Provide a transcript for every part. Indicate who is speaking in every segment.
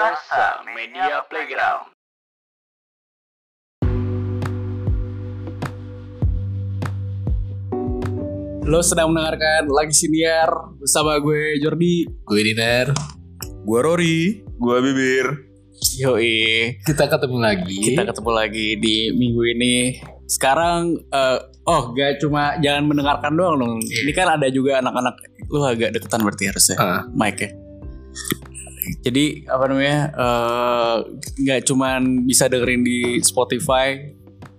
Speaker 1: Rasa Media Playground.
Speaker 2: Lo sedang mendengarkan lagi siniar bersama gue Jordi.
Speaker 3: Gue Diner
Speaker 4: Gua Rory, gua Bibir.
Speaker 2: Yoi,
Speaker 3: Kita ketemu lagi
Speaker 2: kita ketemu lagi di minggu ini. Sekarang, eh, oh gak cuma jangan mendengarkan doang dong. Ini kan ada juga anak-anak. Lu agak deketan berarti harusnya.
Speaker 3: Iya. Ah.
Speaker 2: Mike ya. Jadi apa namanya? eh, Gak cuman bisa dengerin di Spotify.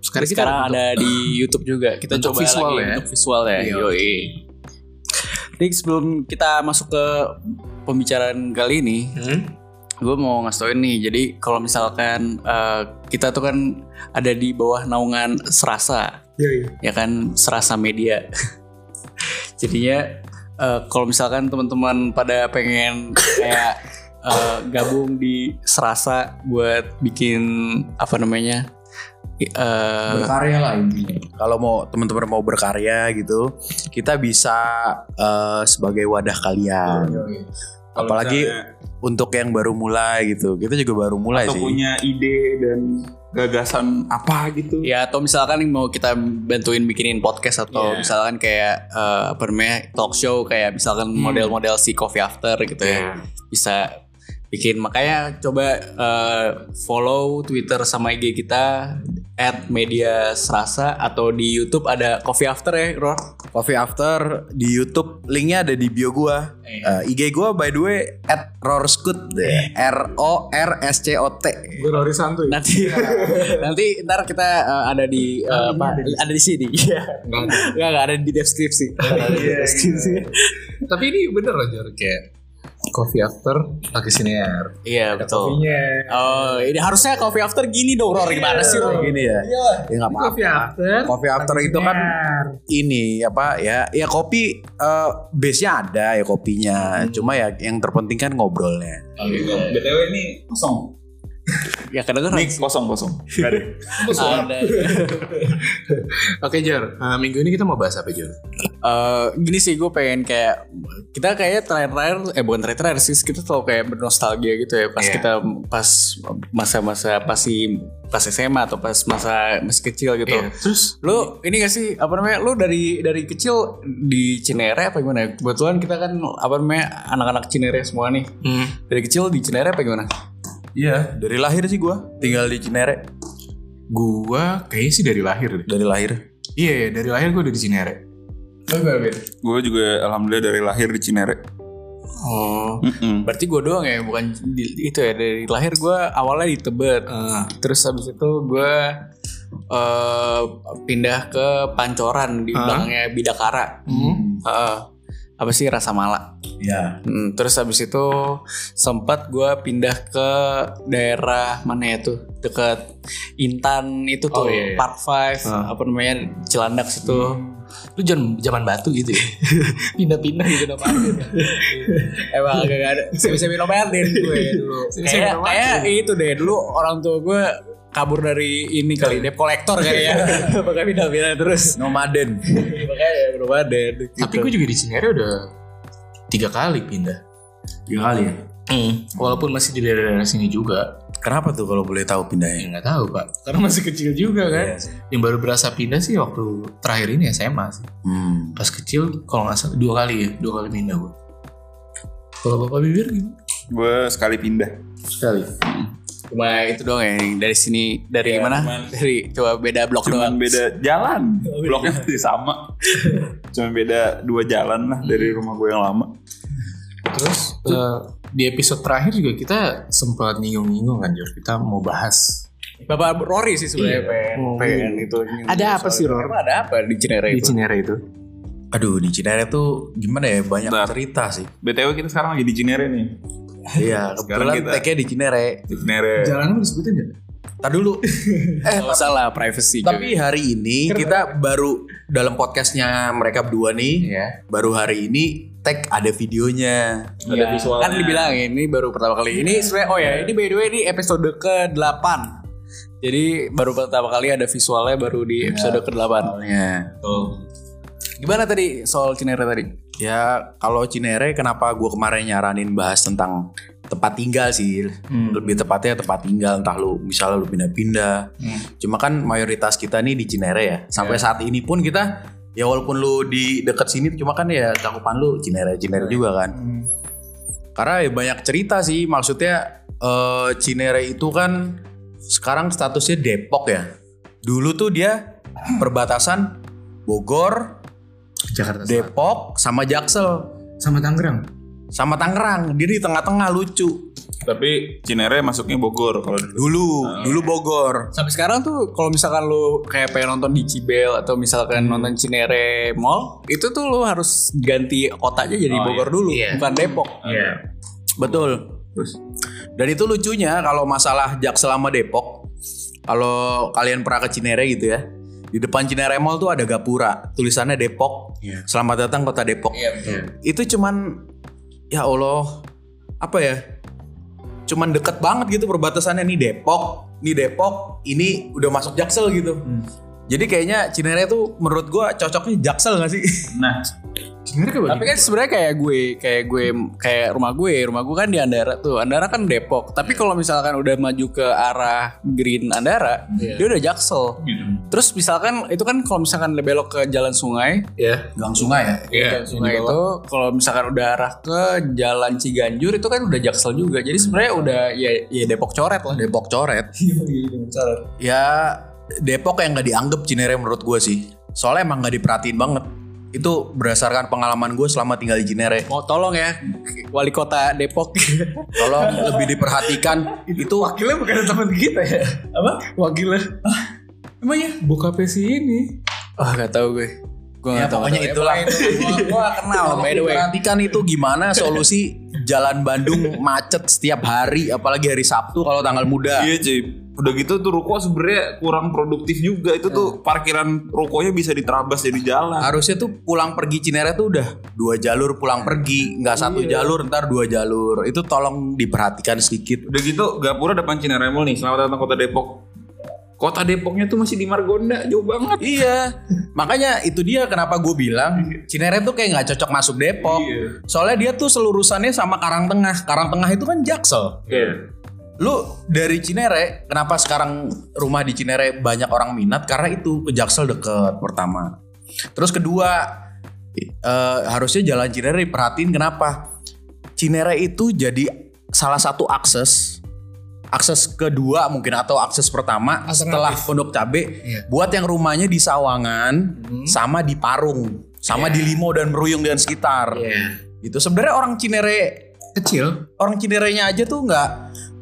Speaker 3: Sekarang kita
Speaker 2: Sekarang ada di YouTube juga. Kita
Speaker 3: Bentuk
Speaker 2: coba
Speaker 3: visual
Speaker 2: lagi
Speaker 3: ya.
Speaker 2: bentuk visual ya.
Speaker 3: Iya.
Speaker 2: Yoi. Jadi sebelum kita masuk ke pembicaraan kali ini,
Speaker 3: Hmm?
Speaker 2: gue mau ngasih tauin nih jadi kalau misalkan eh, kita tuh kan ada di bawah naungan serasa ya kan serasa media jadinya eh, kalau misalkan teman-teman pada pengen kayak eh, gabung di serasa buat bikin apa namanya i- eh,
Speaker 3: berkarya lah ini.
Speaker 4: Kalau mau teman-teman mau berkarya gitu, kita bisa eh, sebagai wadah kalian.
Speaker 2: Iya
Speaker 4: Apalagi untuk yang baru mulai gitu. Kita juga baru mulai
Speaker 5: atau
Speaker 4: sih.
Speaker 5: punya ide dan gagasan apa gitu
Speaker 2: Ya atau misalkan mau kita bantuin bikinin podcast atau misalkan kayak eh, apa namanya talk show kayak misalkan model-model si Coffee After gitu ya bisa bikin makanya coba eh, follow Twitter sama IG kita at media serasa atau di YouTube ada Coffee After ya Ror
Speaker 4: Coffee After di YouTube linknya ada di bio gua.
Speaker 5: Iya.
Speaker 4: Eh, IG gua by the way at rorscoot deh. R O R S C O T.
Speaker 6: Iya.
Speaker 2: nanti nanti ntar kita eh, ada di eh, apa, ada di sini Iya. nggak nggak ada di deskripsi ada di deskripsi
Speaker 3: Tapi ini bener loh Jor kayak Coffee After pakai siniar.
Speaker 2: Iya betul. Oh, ini harusnya coffee after gini dong, Ror. Gimana sih, Ror?
Speaker 4: Gini ya. Ya nggak apa-apa.
Speaker 3: Coffee After.
Speaker 4: Coffee after itu kan ini apa ya ya kopi eh, base-nya ada ya kopinya
Speaker 5: Hmm.
Speaker 4: cuma ya yang terpenting kan ngobrolnya
Speaker 5: btw ini kosong
Speaker 2: Ya kedengeran.
Speaker 5: Nick kosong kosong
Speaker 2: Ada.
Speaker 3: Oke Jor, eh, minggu ini kita mau bahas apa Jor?
Speaker 2: Eh, gini sih gue pengen kayak kita kayak terakhir-terakhir eh bukan terakhir-terakhir sih kita selalu kayak bernostalgia gitu ya pas
Speaker 3: Iya.
Speaker 2: kita pas masa-masa pas si pas SMA atau pas masa masih kecil gitu.
Speaker 3: Iya. Terus
Speaker 2: Lu ini gak sih apa namanya? Lu dari dari kecil di Cinere apa gimana? ya? Kebetulan kita kan apa namanya anak-anak Cinere semua nih.
Speaker 3: Hmm.
Speaker 2: Dari kecil di Cinere apa gimana?
Speaker 4: iya dari lahir sih gua tinggal di Cinere
Speaker 3: gua kayaknya sih dari lahir deh.
Speaker 4: dari lahir
Speaker 3: Iya, iya, dari lahir gua udah di Cinere.
Speaker 5: gue juga alhamdulillah dari lahir di Cinere
Speaker 2: Oh.
Speaker 5: Mm-mm.
Speaker 2: Berarti gue doang ya, bukan di- itu ya dari lahir gue awalnya di Tebet,
Speaker 3: Eh,
Speaker 2: terus habis itu gue eh, pindah ke Pancoran di belakangnya Bidakara, Heeh. apa sih rasa mala.
Speaker 4: ya
Speaker 2: Hmm, terus habis itu sempat gue pindah ke daerah mana ya tuh dekat Intan itu tuh
Speaker 3: Oh, iya, iya.
Speaker 2: Park Five apa namanya Cilandak situ. Ah. Hmm. Lu jangan zaman batu gitu ya. Pindah-pindah gitu nama Emang agak ada semi-semi nomaden gue dulu. Kayak kayak itu deh dulu orang tua gue kabur dari ini kali ya. debt kolektor kayaknya. Nah. Makanya pindah-pindah terus.
Speaker 4: nomaden
Speaker 2: Makanya ya nomaden. Gitu.
Speaker 3: Tapi gua juga di Cinere udah tiga kali pindah.
Speaker 4: ya kali ya
Speaker 3: Walaupun masih di daerah-daerah sini juga.
Speaker 4: kenapa tuh kalau boleh tahu
Speaker 3: Ya
Speaker 4: pindahnya
Speaker 3: nggak tahu pak, karena masih kecil juga kan.
Speaker 4: Iya sih.
Speaker 3: Yang baru berasa pindah sih waktu terakhir ini SMA sih.
Speaker 4: hmm.
Speaker 3: Pas kecil kalau nggak salah dua kali ya, dua kali pindah gua. Kalau bapak bibir gitu?
Speaker 5: gue sekali pindah
Speaker 3: Sekali.
Speaker 2: Cuma itu doang ya yang dari sini dari
Speaker 5: Ya,
Speaker 2: mana?
Speaker 5: cuman-
Speaker 2: dari coba beda blok doang.
Speaker 5: cuman beda jalan
Speaker 4: Oh, iya.
Speaker 5: bloknya masih sama cuman beda dua jalan lah
Speaker 4: Hmm.
Speaker 5: dari rumah gue yang lama
Speaker 3: Terus eh, di episode terakhir juga kita sempat nyinggung-nyinggung kan Jor, kita mau bahas
Speaker 2: Bapak Rory sih sebenarnya pengen,
Speaker 3: Oh,
Speaker 2: pengen
Speaker 3: iya.
Speaker 2: itu.
Speaker 3: Ada apa sih, Ror?
Speaker 2: Emang ada apa di Cinere
Speaker 3: di
Speaker 2: itu?
Speaker 3: Cinere itu.
Speaker 4: aduh di Cinere tuh gimana ya banyak
Speaker 5: Bentar.
Speaker 4: cerita sih
Speaker 5: btw kita sekarang lagi di Cinere nih
Speaker 4: iya
Speaker 5: Sekarang
Speaker 4: kebetulan
Speaker 5: kita-
Speaker 4: tag-nya di Cinere
Speaker 5: di Cinere
Speaker 3: Jalannya mau disebutin nggak?
Speaker 4: Tar dulu
Speaker 2: Eh, masalah privacy.
Speaker 4: tapi hari ini kita baru dalam podcastnya mereka berdua nih
Speaker 3: Iya.
Speaker 4: baru hari ini tag ada videonya
Speaker 2: juga. Iya. Kan dibilangin ini baru pertama kali. Ini sebenarnya oh ya, ini by the way ini episode ke-8. Jadi baru pertama kali ada visualnya baru di episode ke-8.
Speaker 4: soalnya
Speaker 2: Gimana tadi soal Cinere tadi?
Speaker 4: Ya kalau Cinere kenapa gue kemarin nyaranin bahas tentang tempat tinggal sih lebih tepatnya tempat tinggal entah lu misalnya lu pindah-pindah cuma kan mayoritas kita nih di Cinere ya sampai saat ini pun kita ya walaupun lu di dekat sini cuma kan ya cakupan lu Cinere Cinere juga kan karena ya banyak cerita sih maksudnya eh, Cinere itu kan sekarang statusnya Depok ya dulu tuh dia perbatasan Bogor
Speaker 3: Jakarta Selatan.
Speaker 4: Depok sama Jaksel
Speaker 3: sama Tangerang.
Speaker 4: sama Tangerang dia di tengah-tengah lucu
Speaker 5: Tapi Cinere masuknya Bogor kalau
Speaker 3: Oh.
Speaker 5: dulu.
Speaker 4: dulu dulu Bogor
Speaker 2: Sampai sekarang tuh kalau misalkan lu kayak pengen nonton di Cibel atau misalkan nonton Cinere Mall, itu tuh lu harus ganti kotanya jadi
Speaker 5: Oh,
Speaker 2: Bogor
Speaker 5: iya.
Speaker 2: dulu,
Speaker 3: Iya.
Speaker 2: bukan Depok.
Speaker 3: Iya.
Speaker 4: Betul.
Speaker 5: Terus
Speaker 4: Dan itu lucunya kalau masalah Jaksel sama Depok, kalau kalian pernah ke Cinere gitu ya, di depan Cinere Mall tuh ada gapura, tulisannya Depok.
Speaker 3: Iya.
Speaker 4: Selamat datang kota Depok.
Speaker 3: Iya.
Speaker 4: Itu cuman ya Allah, apa ya? Cuman deket banget gitu perbatasannya nih Depok, nih Depok, ini udah masuk Jaksel gitu. Jadi kayaknya Cinere tuh menurut gua cocoknya Jaksel gak sih?
Speaker 5: nah
Speaker 3: Cinere
Speaker 6: Iya.
Speaker 3: ke
Speaker 2: Tapi kan sebenarnya kayak gue, kayak gue, kayak rumah gue, rumah gue kan di Andara tuh. Andara kan Depok. Tapi kalau misalkan udah maju ke arah Green Andara, dia udah Jaksel.
Speaker 5: gitu.
Speaker 2: Terus misalkan itu kan kalau misalkan belok ke Jalan Sungai,
Speaker 3: Iya.
Speaker 4: Gang Sungai ya.
Speaker 2: Jalan Sungai itu kalau misalkan udah arah ke Jalan Ciganjur itu kan udah Jaksel juga. Jadi sebenarnya udah ya ya Depok coret lah.
Speaker 4: Depok coret.
Speaker 3: Iya,
Speaker 2: coret.
Speaker 4: ya Depok yang nggak dianggap Cinere menurut gue sih soalnya emang nggak diperhatiin banget itu berdasarkan pengalaman gue selama tinggal di Cinere
Speaker 2: Mau tolong ya wali kota Depok.
Speaker 4: tolong lebih diperhatikan itu
Speaker 3: Wakilnya bukan teman kita ya. Apa? Wakilnya.
Speaker 2: Emang ya?
Speaker 3: Buka PC ini.
Speaker 2: Ah nggak tahu gue. Gue
Speaker 4: ya
Speaker 2: nggak tahu.
Speaker 4: pokoknya itulah
Speaker 2: Gue kenal by the way.
Speaker 4: perhatikan itu gimana solusi jalan Bandung macet setiap hari apalagi hari Sabtu kalau tanggal muda
Speaker 5: Iya cuy. Udah gitu tuh ruko sebenarnya kurang produktif juga. Itu tuh
Speaker 4: Hmm.
Speaker 5: parkiran rukonya bisa diterabas jadi jalan.
Speaker 4: harusnya tuh pulang pergi Cinere tuh udah dua jalur pulang pergi nggak satu jalur ntar dua jalur itu tolong diperhatikan sedikit
Speaker 5: Udah gitu Gapura depan Cinere Mall nih. Selamat datang kota Depok. Kota Depoknya tuh masih di Margonda, jauh banget.
Speaker 4: Iya, makanya itu dia kenapa gue bilang Cinere tuh kayak nggak cocok masuk Depok.
Speaker 5: Iya.
Speaker 4: Soalnya dia tuh selurusannya sama Karang Tengah. Karang Tengah itu kan Jaksel.
Speaker 5: Iya.
Speaker 4: Lu dari Cinere, kenapa sekarang rumah di Cinere banyak orang minat? Karena itu ke Jaksel deket pertama. Terus kedua, eh, harusnya jalan Cinere diperhatiin kenapa? Cinere itu jadi salah satu akses akses kedua mungkin atau akses pertama setelah Pondok Cabe
Speaker 3: Iya.
Speaker 4: buat yang rumahnya di Sawangan sama di Parung sama di Limo dan Meruyung dan sekitar itu sebenarnya orang Cinere
Speaker 3: Kecil.
Speaker 4: orang Cinerenya aja tuh nggak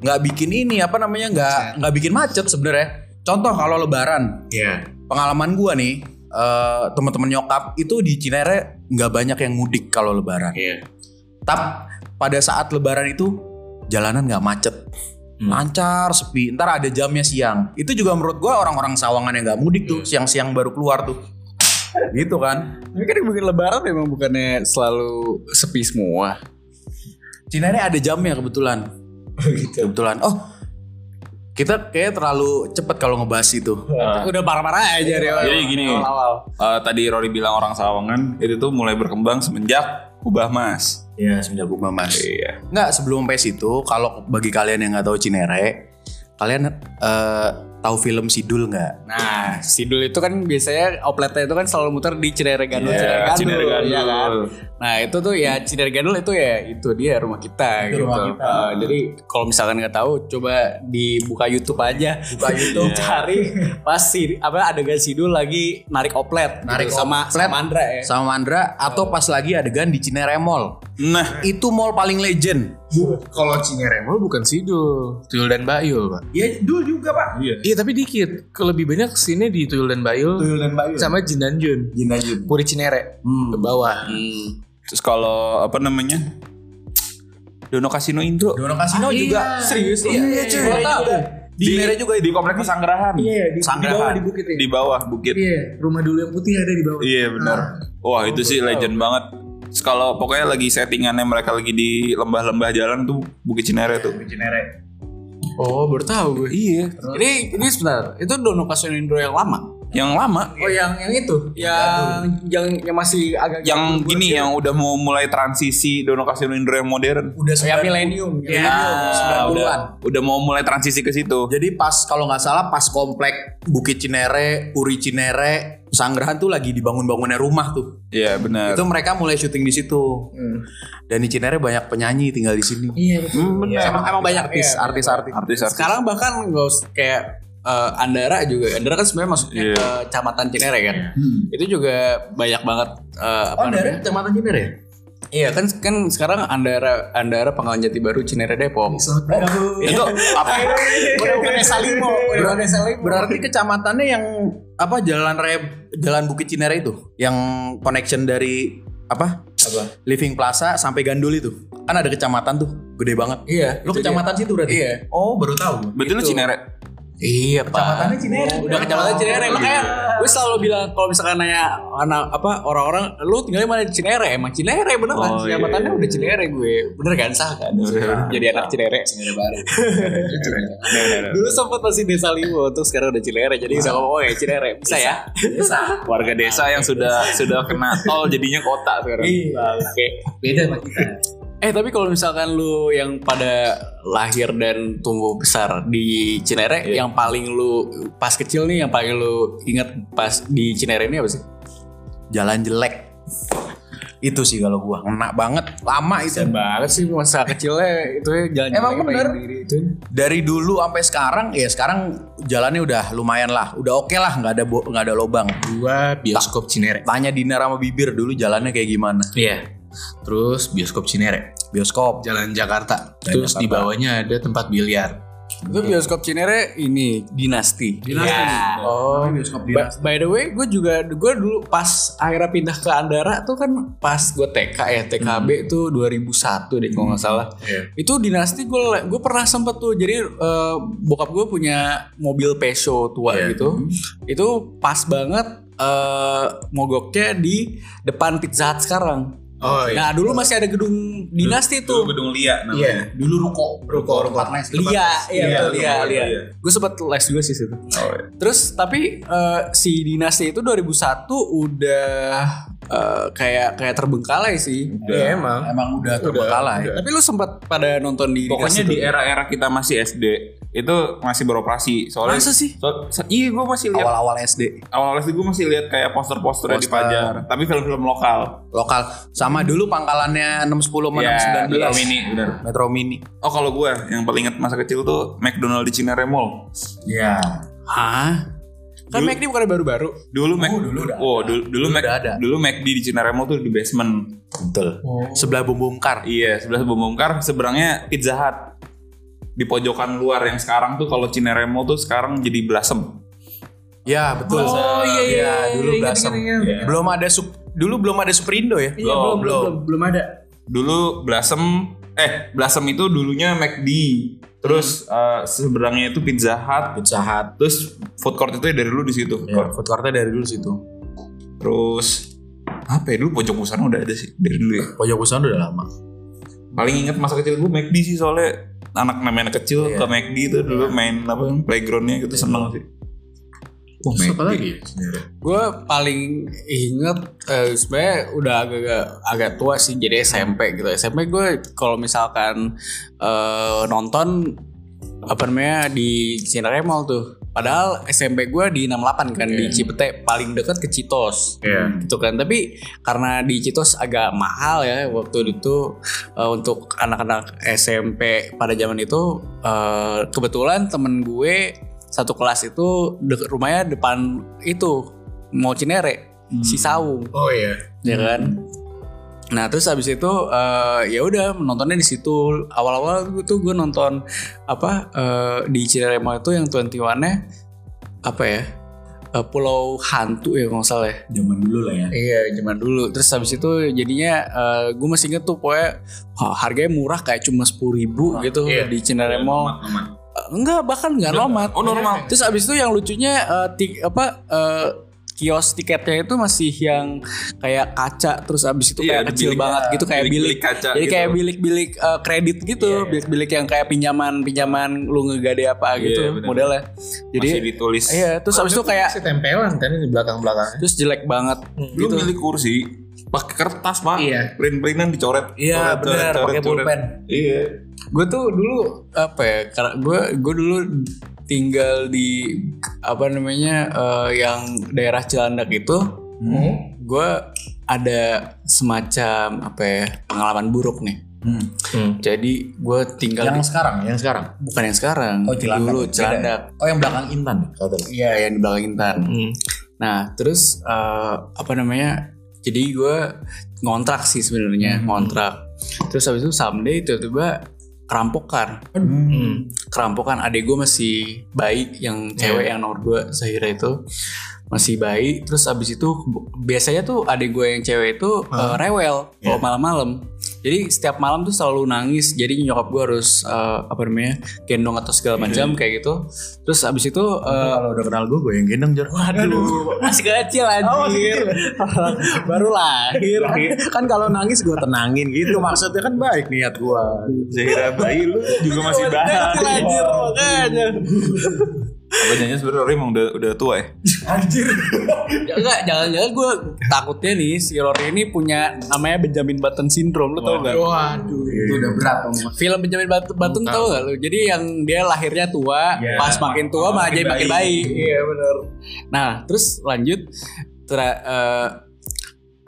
Speaker 4: nggak bikin ini apa namanya nggak nggak bikin macet sebenarnya contoh kalau Lebaran
Speaker 3: Iya.
Speaker 4: pengalaman gua nih eh, teman-teman nyokap itu di Cinere nggak banyak yang mudik kalau Lebaran
Speaker 3: Iya.
Speaker 4: Tap pada saat Lebaran itu jalanan nggak macet, lancar, sepi. Ntar ada jamnya siang. Itu juga menurut gua orang-orang Sawangan yang nggak mudik tuh, siang-siang baru keluar tuh. gitu kan.
Speaker 2: Tapi kan bikin lebaran memang bukannya selalu sepi semua.
Speaker 4: Cinere ada jamnya kebetulan. Kebetulan. Oh, kita kayak terlalu cepet kalau ngebahas itu.
Speaker 2: Udah parah-parah
Speaker 4: Iya.
Speaker 2: aja Rio.
Speaker 5: Jadi gini.
Speaker 2: Awal.
Speaker 5: Eh, tadi Rory bilang orang Sawangan itu tuh mulai berkembang semenjak Kubah Mas.
Speaker 4: Iya, semenjak Bung Mas.
Speaker 5: Iya.
Speaker 4: Nggak, sebelum sampai situ, kalau bagi kalian yang nggak tahu Cinere, kalian eh, tahu film Sidul nggak?
Speaker 2: Nah, Sidul itu kan biasanya outletnya itu kan selalu muter di Cinere Gandul,
Speaker 4: Iya,
Speaker 2: Cinere Gandul,
Speaker 5: Cinere Gandul.
Speaker 2: ya kan? Nah, itu tuh ya Cinere Gandul itu ya itu dia rumah kita gitu. Eh, jadi kalau misalkan nggak tahu coba dibuka YouTube aja. Buka YouTube cari pasti apa adegan Sidul lagi narik oplet
Speaker 4: Narik
Speaker 2: gitu, sama
Speaker 4: oplet.
Speaker 2: sama Andra ya.
Speaker 4: Sama Mandra atau pas lagi adegan di Cinere Mall.
Speaker 5: Nah,
Speaker 4: itu mall paling legend.
Speaker 3: Kalau Cinere Mall bukan Sidul, Tuyul dan Bayul, Pak.
Speaker 4: Iya, dulu juga pak.
Speaker 3: Iya, tapi dikit. Kalau lebih banyak sini di Tuyul dan Bayul. Tuyul dan Bayul. Sama Jin dan Jun. Puri Cinere. Ke bawah.
Speaker 4: Oh,
Speaker 5: terus kalau apa namanya? Dono Kasino Indro.
Speaker 4: Dono Casino juga. Serius? Ah, Iya, iya cuy. Gua tahu. Di Cinere juga Iya.
Speaker 5: di komplek Pesanggerahan.
Speaker 3: di,
Speaker 4: Sanggerahan. bawah di
Speaker 3: bukit
Speaker 5: Di bawah bukit. ya.
Speaker 3: Iya, rumah dulu yang putih ada di bawah.
Speaker 5: Iya benar. Wah itu sih legend banget. Terus Kalau pokoknya lagi settingannya mereka lagi di lembah-lembah jalan tuh Bukit Cinere tuh.
Speaker 2: Oh, baru tahu gue. Iya. Ini ini sebentar. Itu Dono Kasino Indro yang lama.
Speaker 5: Yang lama,
Speaker 6: Oh yang yang itu, yang yang, yang masih agak
Speaker 5: yang gini yang udah mau mulai transisi Dono Kasino yang modern.
Speaker 6: udah saya milenium.
Speaker 5: Ya, udah,
Speaker 6: 90-an.
Speaker 5: udah mau mulai transisi ke situ.
Speaker 4: Jadi pas kalau nggak salah pas komplek Bukit Cinere, Puri Cinere, Pesanggerahan tuh lagi dibangun-bangunnya rumah tuh.
Speaker 5: Iya benar.
Speaker 4: Itu mereka mulai syuting di situ. Dan di Cinere banyak penyanyi tinggal di sini. Hmm,
Speaker 6: Iya betul.
Speaker 4: Emang, emang banyak artis,
Speaker 6: Iya,
Speaker 4: artis-artis.
Speaker 5: Artis
Speaker 2: Nah,
Speaker 5: artis.
Speaker 2: Sekarang bahkan nggak us- kayak eh, Andara juga. Andara kan sebenarnya masuknya
Speaker 5: Iya. Hmm.
Speaker 2: ke Kecamatan Cinere kan.
Speaker 4: Iya.
Speaker 2: Itu juga banyak banget eh, apa namanya?
Speaker 4: Kecamatan Cinere ya?
Speaker 2: Iya kan kan sekarang Andara Andara Pengalaman Jati Baru Cinere Depok.
Speaker 4: Iya,
Speaker 5: Itu apa?
Speaker 6: Udah bukan Salimo, udah bukan Salimo.
Speaker 4: Berarti kecamatannya yang apa jalan rep jalan Bukit Cinere itu yang connection dari apa? Living Plaza sampai Gandul itu. Kan ada kecamatan tuh, gede banget.
Speaker 2: Iya.
Speaker 4: Lu kecamatan situ berarti?
Speaker 2: Iya.
Speaker 4: Oh, baru tahu.
Speaker 5: Betul lu Cinere.
Speaker 2: Iya, Pak.
Speaker 6: Cinere.
Speaker 4: Oh,
Speaker 2: Udah kecamatan Cinere. Makanya
Speaker 5: Iya.
Speaker 2: gue selalu bilang kalau misalkan nanya anak apa orang-orang lu tinggalnya mana di Cinere? Emang Cinere beneran.
Speaker 5: Oh, iya.
Speaker 2: Kecamatannya udah Cinere gue. Bener kan sah kan? Jadi anak Cinere. Cinere
Speaker 5: Iya,
Speaker 2: baru. Dulu sempat masih Desa Limo, terus sekarang udah Cinere. Jadi udah ngomong oh ya Cinere. Bisa ya?
Speaker 5: Warga desa yang sudah sudah kena tol jadinya kota sekarang.
Speaker 2: Oke.
Speaker 6: Beda sama kita.
Speaker 2: Eh tapi kalau misalkan lu yang pada lahir dan tumbuh besar di Cinere, yang paling lu pas kecil nih yang paling lu inget pas di Cinere ini apa sih?
Speaker 4: Jalan jelek. Itu sih kalau gua ngena banget, lama itu.
Speaker 2: Banget sih masa kecilnya itu ya jalan
Speaker 4: Emang bener?
Speaker 2: itu.
Speaker 4: Dari dulu sampai sekarang ya sekarang jalannya udah lumayan lah, udah oke lah, nggak ada bo- nggak ada lobang.
Speaker 3: Gua bioskop Cinere.
Speaker 4: Tanya Dinar sama Bibir dulu jalannya kayak gimana?
Speaker 3: Iya. Terus bioskop Cinere,
Speaker 4: Bioskop.
Speaker 3: Jalan Jakarta.
Speaker 4: Jalan
Speaker 3: Terus
Speaker 4: Jakarta.
Speaker 3: di bawahnya ada tempat biliar.
Speaker 2: Itu bioskop Cinere ini dinasti.
Speaker 4: Dinasti.
Speaker 2: Ya. Oh.
Speaker 4: Bioskop
Speaker 2: Ba- By, the way, gue juga gue dulu pas akhirnya pindah ke Andara tuh kan pas gue TK ya TKB tuh 2001 deh kalau nggak salah.
Speaker 5: Iya.
Speaker 2: Itu dinasti gue gue pernah sempet tuh jadi eh, bokap gue punya mobil Peugeot tua
Speaker 4: Iya.
Speaker 2: gitu. Itu pas banget eh, mogoknya di depan Pizza Hut sekarang.
Speaker 3: Oh
Speaker 2: Nah dulu masih ada gedung dinasti tuh.
Speaker 5: Itu gedung Lia namanya.
Speaker 3: Iya. Dulu ruko, ruko, ruko.
Speaker 2: Lia, iya
Speaker 3: Iya,
Speaker 2: betul, Lia,
Speaker 5: iya,
Speaker 2: Lia.
Speaker 5: iya.
Speaker 2: Gue sempet les juga sih situ.
Speaker 5: Oh,
Speaker 2: Terus tapi eh, si dinasti itu 2001 udah eh, kayak kayak terbengkalai sih.
Speaker 3: Iya emang.
Speaker 4: Emang udah terbengkalai.
Speaker 2: Tapi lu sempat pada nonton di
Speaker 5: Pokoknya
Speaker 2: dinasti
Speaker 5: di era-era kita masih SD itu masih beroperasi soalnya
Speaker 2: Masa sih?
Speaker 5: so- so- iya gue masih lihat
Speaker 4: awal-awal SD
Speaker 5: awal-awal sih gue masih lihat kayak poster-posternya di
Speaker 4: Poster.
Speaker 5: pajar tapi film-film lokal
Speaker 4: lokal sama dulu pangkalannya 610 sama
Speaker 5: Metro
Speaker 4: 619
Speaker 5: mini benar
Speaker 4: Metro Mini
Speaker 5: Iya, oh kalau gue yang paling inget masa kecil tuh McDonald di Cinere Mall
Speaker 4: ya
Speaker 2: Hah? Kan
Speaker 5: Dulu-
Speaker 2: McD bukan baru-baru.
Speaker 5: dulu Mac
Speaker 4: Oh, dulu udah
Speaker 5: oh, dulu dulu, Mac,
Speaker 4: udah ada.
Speaker 5: dulu McD di Cinere Mall tuh di basement
Speaker 4: betul
Speaker 6: Oh.
Speaker 4: sebelah bumbungkar
Speaker 5: iya sebelah Bomongkar seberangnya Pizza Hut di pojokan luar yang sekarang tuh kalau Cinere Mall tuh sekarang jadi Blasem
Speaker 4: ya betul
Speaker 6: Oh, iya, iya,
Speaker 4: Ya,
Speaker 6: iya,
Speaker 4: dulu
Speaker 6: ingat,
Speaker 4: Blasem
Speaker 6: ingat,
Speaker 5: ingat.
Speaker 4: belum ada sup dulu belum ada Superindo ya
Speaker 6: Iya, belum, belum, belum, belum ada.
Speaker 5: dulu Blasem eh Blasem itu dulunya McD terus eh, seberangnya itu Pizza
Speaker 4: Hmm.
Speaker 5: Hut
Speaker 4: Pizza Hut
Speaker 5: terus food court itu ya dari dulu di situ food
Speaker 4: ya,
Speaker 5: court.
Speaker 4: food courtnya dari dulu situ
Speaker 5: terus apa ya dulu pojok busana udah ada sih dari dulu ya
Speaker 4: pojok usaha udah lama
Speaker 5: paling inget masa kecil gue McD sih soalnya anak namanya anak kecil
Speaker 4: Iya.
Speaker 5: ke McD itu dulu main apa playgroundnya gitu seneng sih Wah,
Speaker 3: Terus apa
Speaker 5: McD.
Speaker 3: lagi? ya Cinere?
Speaker 2: Gue paling inget eh, sebenarnya udah agak agak tua sih jadi SMP gitu. SMP gue kalau misalkan eh, nonton apa namanya di Cinere Mall tuh. Padahal SMP gue di 68 kan di Cipete paling dekat ke Citos. Gitu kan. Tapi karena di Citos agak mahal ya waktu itu eh, untuk anak-anak SMP pada zaman itu eh, kebetulan temen gue satu kelas itu de- rumahnya depan itu mau Cinere si Saung
Speaker 3: Oh iya.
Speaker 2: ya kan nah terus habis itu eh, ya udah nontonnya di situ awal-awal tuh gue nonton apa eh, di Cinere Mall itu yang 21 nya apa ya Eh, Pulau Hantu ya kalau nggak salah ya.
Speaker 4: zaman dulu lah ya
Speaker 2: Iya zaman dulu. Terus habis itu jadinya gue masih inget tuh pokoknya wah, harganya murah kayak cuma sepuluh ribu gitu
Speaker 3: iya.
Speaker 2: di Cinere Mall. Eh, Enggak bahkan nggak normal.
Speaker 5: oh normal
Speaker 2: Terus abis itu yang lucunya eh, ti- apa eh, kios tiketnya itu masih yang kayak kaca terus abis itu
Speaker 5: Iya,
Speaker 2: kayak kecil
Speaker 5: bilik-
Speaker 2: banget gitu kayak bilik,
Speaker 5: bilik-bilik kaca
Speaker 2: jadi
Speaker 5: gitu. Iya,
Speaker 2: kayak bilik-bilik eh, kredit gitu bilik-bilik yang kayak pinjaman pinjaman lu ngegade apa gitu
Speaker 5: Iya, benar.
Speaker 2: modelnya jadi
Speaker 5: Masih ditulis.
Speaker 2: iya terus abis itu kayak
Speaker 3: si tempelan kan di belakang belakang
Speaker 2: terus jelek banget
Speaker 5: Hmm. Lu
Speaker 2: gitu
Speaker 5: milih kursi pakai kertas pak,
Speaker 3: Iya.
Speaker 5: print-printan dicoret.
Speaker 2: Iya,
Speaker 5: Coret, coret,
Speaker 2: benar,
Speaker 5: coret,
Speaker 2: pakai
Speaker 5: coret.
Speaker 2: pulpen.
Speaker 5: Iya.
Speaker 2: gue tuh dulu apa ya karena gue gue dulu tinggal di apa namanya eh, yang daerah Cilandak itu
Speaker 4: Hmm.
Speaker 2: gue ada semacam apa ya pengalaman buruk nih jadi gue tinggal
Speaker 4: Hmm. Yang
Speaker 2: di-
Speaker 4: sekarang, yang sekarang.
Speaker 2: bukan yang sekarang
Speaker 4: Oh, Cilandak.
Speaker 2: dulu
Speaker 4: Beda ya?
Speaker 2: Cilandak
Speaker 4: Oh, yang belakang Intan ya, kata lu.
Speaker 2: Iya yang di belakang Intan. Nah terus eh, apa namanya? Jadi gue ngontrak sih sebenarnya ngontrak. Terus habis itu someday tiba-tiba kerampokan. Kerampokan adik gue masih bayi yang cewek yang nomor dua Zahira itu masih bayi. Terus habis itu biasanya tuh adik gue yang cewek itu eh, rewel kalau malam-malam. Jadi setiap malam tuh selalu nangis. Jadi nyokap gue harus eh, apa namanya gendong atau segala macam kayak gitu. Terus abis itu eh,
Speaker 4: Kalau udah kenal gue, gue yang gendong jor.
Speaker 2: Aduh, Oh, masih kecil anjir. Baru lahir. kan kalau nangis gue tenangin gitu maksudnya kan baik niat gue.
Speaker 5: Zahira bayi lu juga masih
Speaker 6: Iya,
Speaker 5: bayi.
Speaker 2: anjir makanya.
Speaker 5: Apa janjinya sebenarnya Rory emang udah udah tua ya?
Speaker 2: Ya, Enggak, jangan-jangan gue takutnya nih si Rory ini punya namanya Benjamin Button Syndrome, lo tau gak?
Speaker 3: waduh
Speaker 4: Iya,
Speaker 3: itu udah berat om
Speaker 2: Film Benjamin Button, Button tau gak lo? Jadi yang dia lahirnya tua,
Speaker 3: Ya,
Speaker 2: pas makin tua malah jadi makin baik.
Speaker 3: iya benar
Speaker 2: Nah, terus lanjut tera- eh,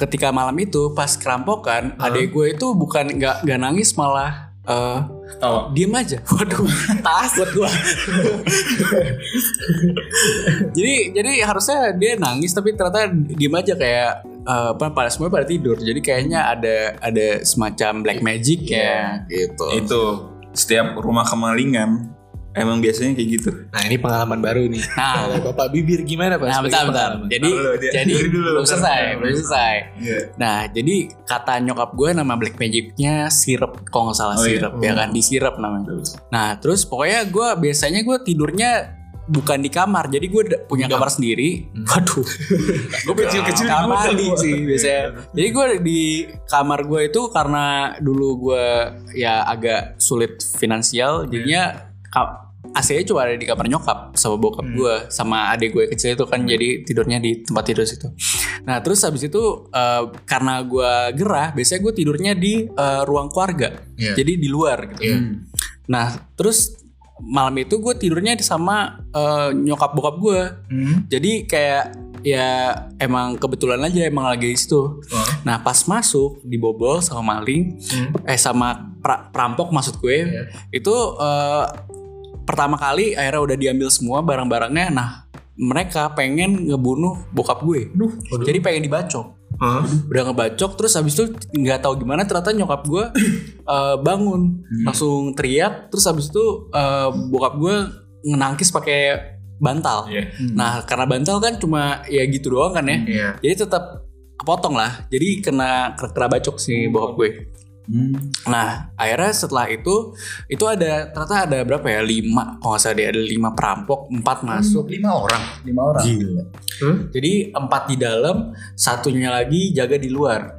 Speaker 2: ketika malam itu pas kerampokan, adik gue itu bukan nggak nggak nangis malah eh diem aja. Waduh, tas buat gue. jadi jadi harusnya dia nangis tapi ternyata diem aja kayak eh, apa pada semua pada tidur. Jadi kayaknya ada ada semacam black magic ya gitu.
Speaker 5: Itu setiap rumah kemalingan emang biasanya kayak gitu.
Speaker 6: Nah ini pengalaman baru nih.
Speaker 2: Nah,
Speaker 6: Bapak bibir gimana pak?
Speaker 2: Nah,
Speaker 6: Sebagai
Speaker 2: bentar, bentar.
Speaker 6: pengalaman.
Speaker 2: Jadi,
Speaker 5: Bentar dulu, dia-
Speaker 2: jadi
Speaker 5: dulu, dulu,
Speaker 2: belum
Speaker 5: bentar,
Speaker 2: selesai,
Speaker 5: bentar,
Speaker 2: belum selesai.
Speaker 5: Iya.
Speaker 2: Nah, jadi kata nyokap gue nama Black Magic-nya sirup, kalau nggak salah
Speaker 5: Oh, iya.
Speaker 2: sirup ya kan, di sirup namanya. Nah, terus pokoknya gue biasanya gue tidurnya bukan di kamar, jadi gue da- punya kamar sendiri. Waduh, gue kecil-kecil di kamar Iya. mandi sih biasanya. Jadi gue di kamar gue itu karena dulu gue ya agak sulit finansial, jadinya ka- AC-nya cuma ada di kamar nyokap sama bokap gue sama adik gue kecil itu kan jadi tidurnya di tempat tidur situ. Nah terus habis itu eh, karena gue gerah, biasanya gue tidurnya di eh, ruang keluarga,
Speaker 3: Iya.
Speaker 2: jadi di luar gitu. Nah terus malam itu gue tidurnya sama eh, nyokap bokap gue, jadi kayak ya emang kebetulan aja emang lagi di situ. Nah pas masuk dibobol sama maling, eh sama pra- perampok maksud gue, itu eh, pertama kali akhirnya udah diambil semua barang-barangnya. Nah mereka pengen ngebunuh bokap gue, jadi pengen dibacok. Udah ngebacok terus habis itu nggak tahu gimana ternyata nyokap gue eh, bangun
Speaker 4: Hmm.
Speaker 2: langsung teriak terus habis itu eh, bokap gue ngenangkis pakai bantal.
Speaker 4: Iya. Hmm.
Speaker 2: Nah, karena bantal kan cuma ya gitu doang kan ya.
Speaker 3: iya
Speaker 2: Jadi tetap kepotong lah. Jadi kena kena bacok sih
Speaker 4: Hmm.
Speaker 2: bokap gue. Nah, akhirnya setelah itu itu ada ternyata ada berapa ya? 5 kalau nggak salah dia ada 5 perampok, 4 masuk.
Speaker 4: Lima orang. Hmm. Lima orang. Gila.
Speaker 2: Jadi 4 di dalam, satunya lagi jaga di luar.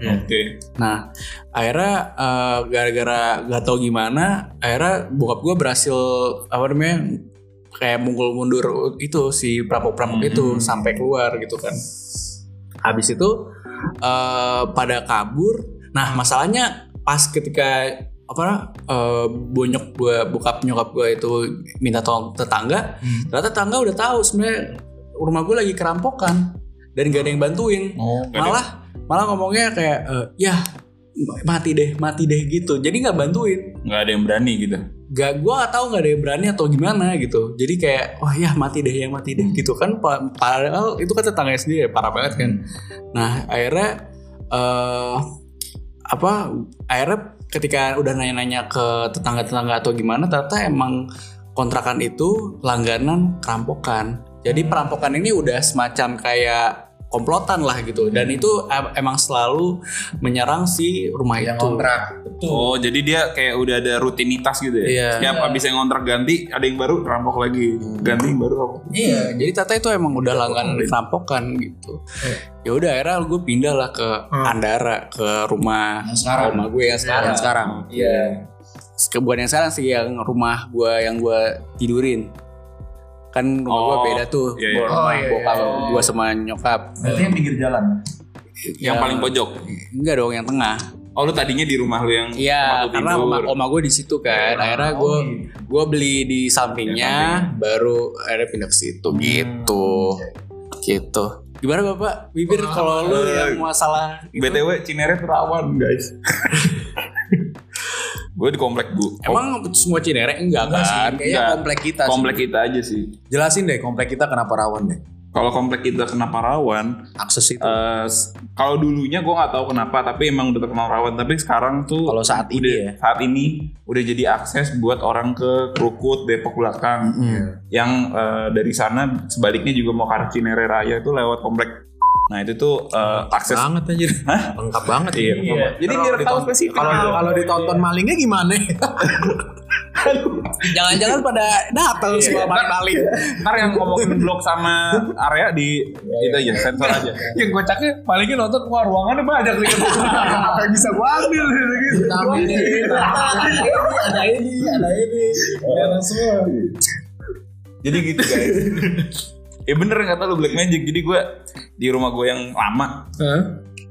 Speaker 2: Nah, akhirnya eh, gara-gara gak tau gimana, akhirnya bokap gue berhasil apa namanya kayak mungkul mundur itu si perampok-perampok itu sampai keluar gitu kan. Habis itu eh, pada kabur. Nah, masalahnya pas ketika apa eh, bonyok gue bokap nyokap gue itu minta tolong tetangga, ternyata tetangga udah tahu sebenarnya rumah gue lagi kerampokan dan gak ada yang bantuin
Speaker 3: oh
Speaker 2: malah malah ngomongnya kayak eh, ya mati deh mati deh gitu jadi nggak bantuin
Speaker 5: Nggak ada yang berani gitu.
Speaker 2: gak gue gak tahu nggak ada yang berani atau gimana gitu jadi kayak wah ya mati deh ya mati
Speaker 3: Hmm.
Speaker 2: deh gitu kan pa- padahal itu kan tetangga sendiri ya parah banget kan
Speaker 3: Hmm.
Speaker 2: nah akhirnya eh apa akhirnya ketika udah nanya-nanya ke tetangga-tetangga atau gimana ternyata emang
Speaker 3: Hmm.
Speaker 2: kontrakan itu langganan perampokan jadi perampokan ini udah semacam kayak komplotan lah gitu dan
Speaker 3: Hmm.
Speaker 2: itu em- emang selalu menyerang si rumah
Speaker 3: yang
Speaker 2: itu
Speaker 3: kontrak
Speaker 5: Oh, jadi dia kayak udah ada rutinitas gitu ya.
Speaker 2: Iya.
Speaker 5: Setiap habis yang kontrak ganti, ada yang baru rampok lagi. Ganti yang baru rampok.
Speaker 2: Iya, jadi Tata itu emang udah langganan rampokan gitu. Ya udah akhirnya gue pindah lah ke Andara ke rumah
Speaker 3: yang sekarang
Speaker 2: rumah gue yang sekarang.
Speaker 4: Yang sekarang.
Speaker 2: Iya. Ke- Bukan yang sekarang sih yang rumah gue yang gue tidurin. Kan rumah gue
Speaker 5: Oh,
Speaker 2: beda tuh.
Speaker 5: iya, iya.
Speaker 2: Rumah
Speaker 3: Oh, iya,
Speaker 2: bokap
Speaker 3: iya, iya.
Speaker 2: gue sama nyokap. Ya,
Speaker 4: Berarti yang pinggir jalan.
Speaker 5: Yang
Speaker 4: Ya.
Speaker 5: paling pojok.
Speaker 2: Enggak dong yang tengah.
Speaker 5: Oh, lu tadinya di rumah lu yang tempat
Speaker 2: Iya,
Speaker 5: lu
Speaker 2: karena
Speaker 5: tidur.
Speaker 2: oma, oma gue di situ kan.
Speaker 5: Ah,
Speaker 2: Akhirnya gue gue beli di sampingnya, baru akhirnya pindah ke situ
Speaker 5: Hmm,
Speaker 2: gitu. Gitu. Gimana Bapak? Bibir kalau lu
Speaker 5: eh,
Speaker 2: yang masalah
Speaker 5: BTW Cinere tuh rawan, guys. gue di komplek, Bu.
Speaker 2: Emang semua Cinere enggak kan?
Speaker 4: Kayaknya
Speaker 5: oh. Enggak.
Speaker 4: komplek kita. sih.
Speaker 5: komplek kita aja sih.
Speaker 4: Jelasin deh komplek kita kenapa rawan deh.
Speaker 5: Kalau komplek kita kenapa rawan?
Speaker 4: Akses itu.
Speaker 6: Gitu.
Speaker 5: eh, s- kalau dulunya gue nggak tahu kenapa, tapi emang udah terkenal rawan. Tapi sekarang tuh
Speaker 4: Kalau saat ini
Speaker 5: udah-
Speaker 4: ya.
Speaker 5: saat ini udah jadi akses buat orang ke Krukut, Depok belakang. Yang eh, dari sana sebaliknya juga mau ke arah Cinere Raya itu lewat komplek. Nah itu tuh eh, akses.
Speaker 3: banget anjir lengkap banget
Speaker 5: Iya, Jadi biar tahu spesifik.
Speaker 3: kalau kalau ditonton
Speaker 2: Iya.
Speaker 3: malingnya gimana ya?
Speaker 2: Jangan-jangan pada datang semua balik-balik.
Speaker 5: Iya.
Speaker 2: Iya,
Speaker 5: Ntar yang ngomongin blok sama area di itu aja sensor aja.
Speaker 6: Iya, Yang kocaknya palingnya nonton wah ruangannya banyak nih. Apa yang bisa gua ambil gitu.
Speaker 3: Tambahin.
Speaker 6: Ada ini, ada ini. Ada semua.
Speaker 5: Jadi gitu guys. ya bener kata lu Black Magic. Jadi gue di rumah gue yang lama.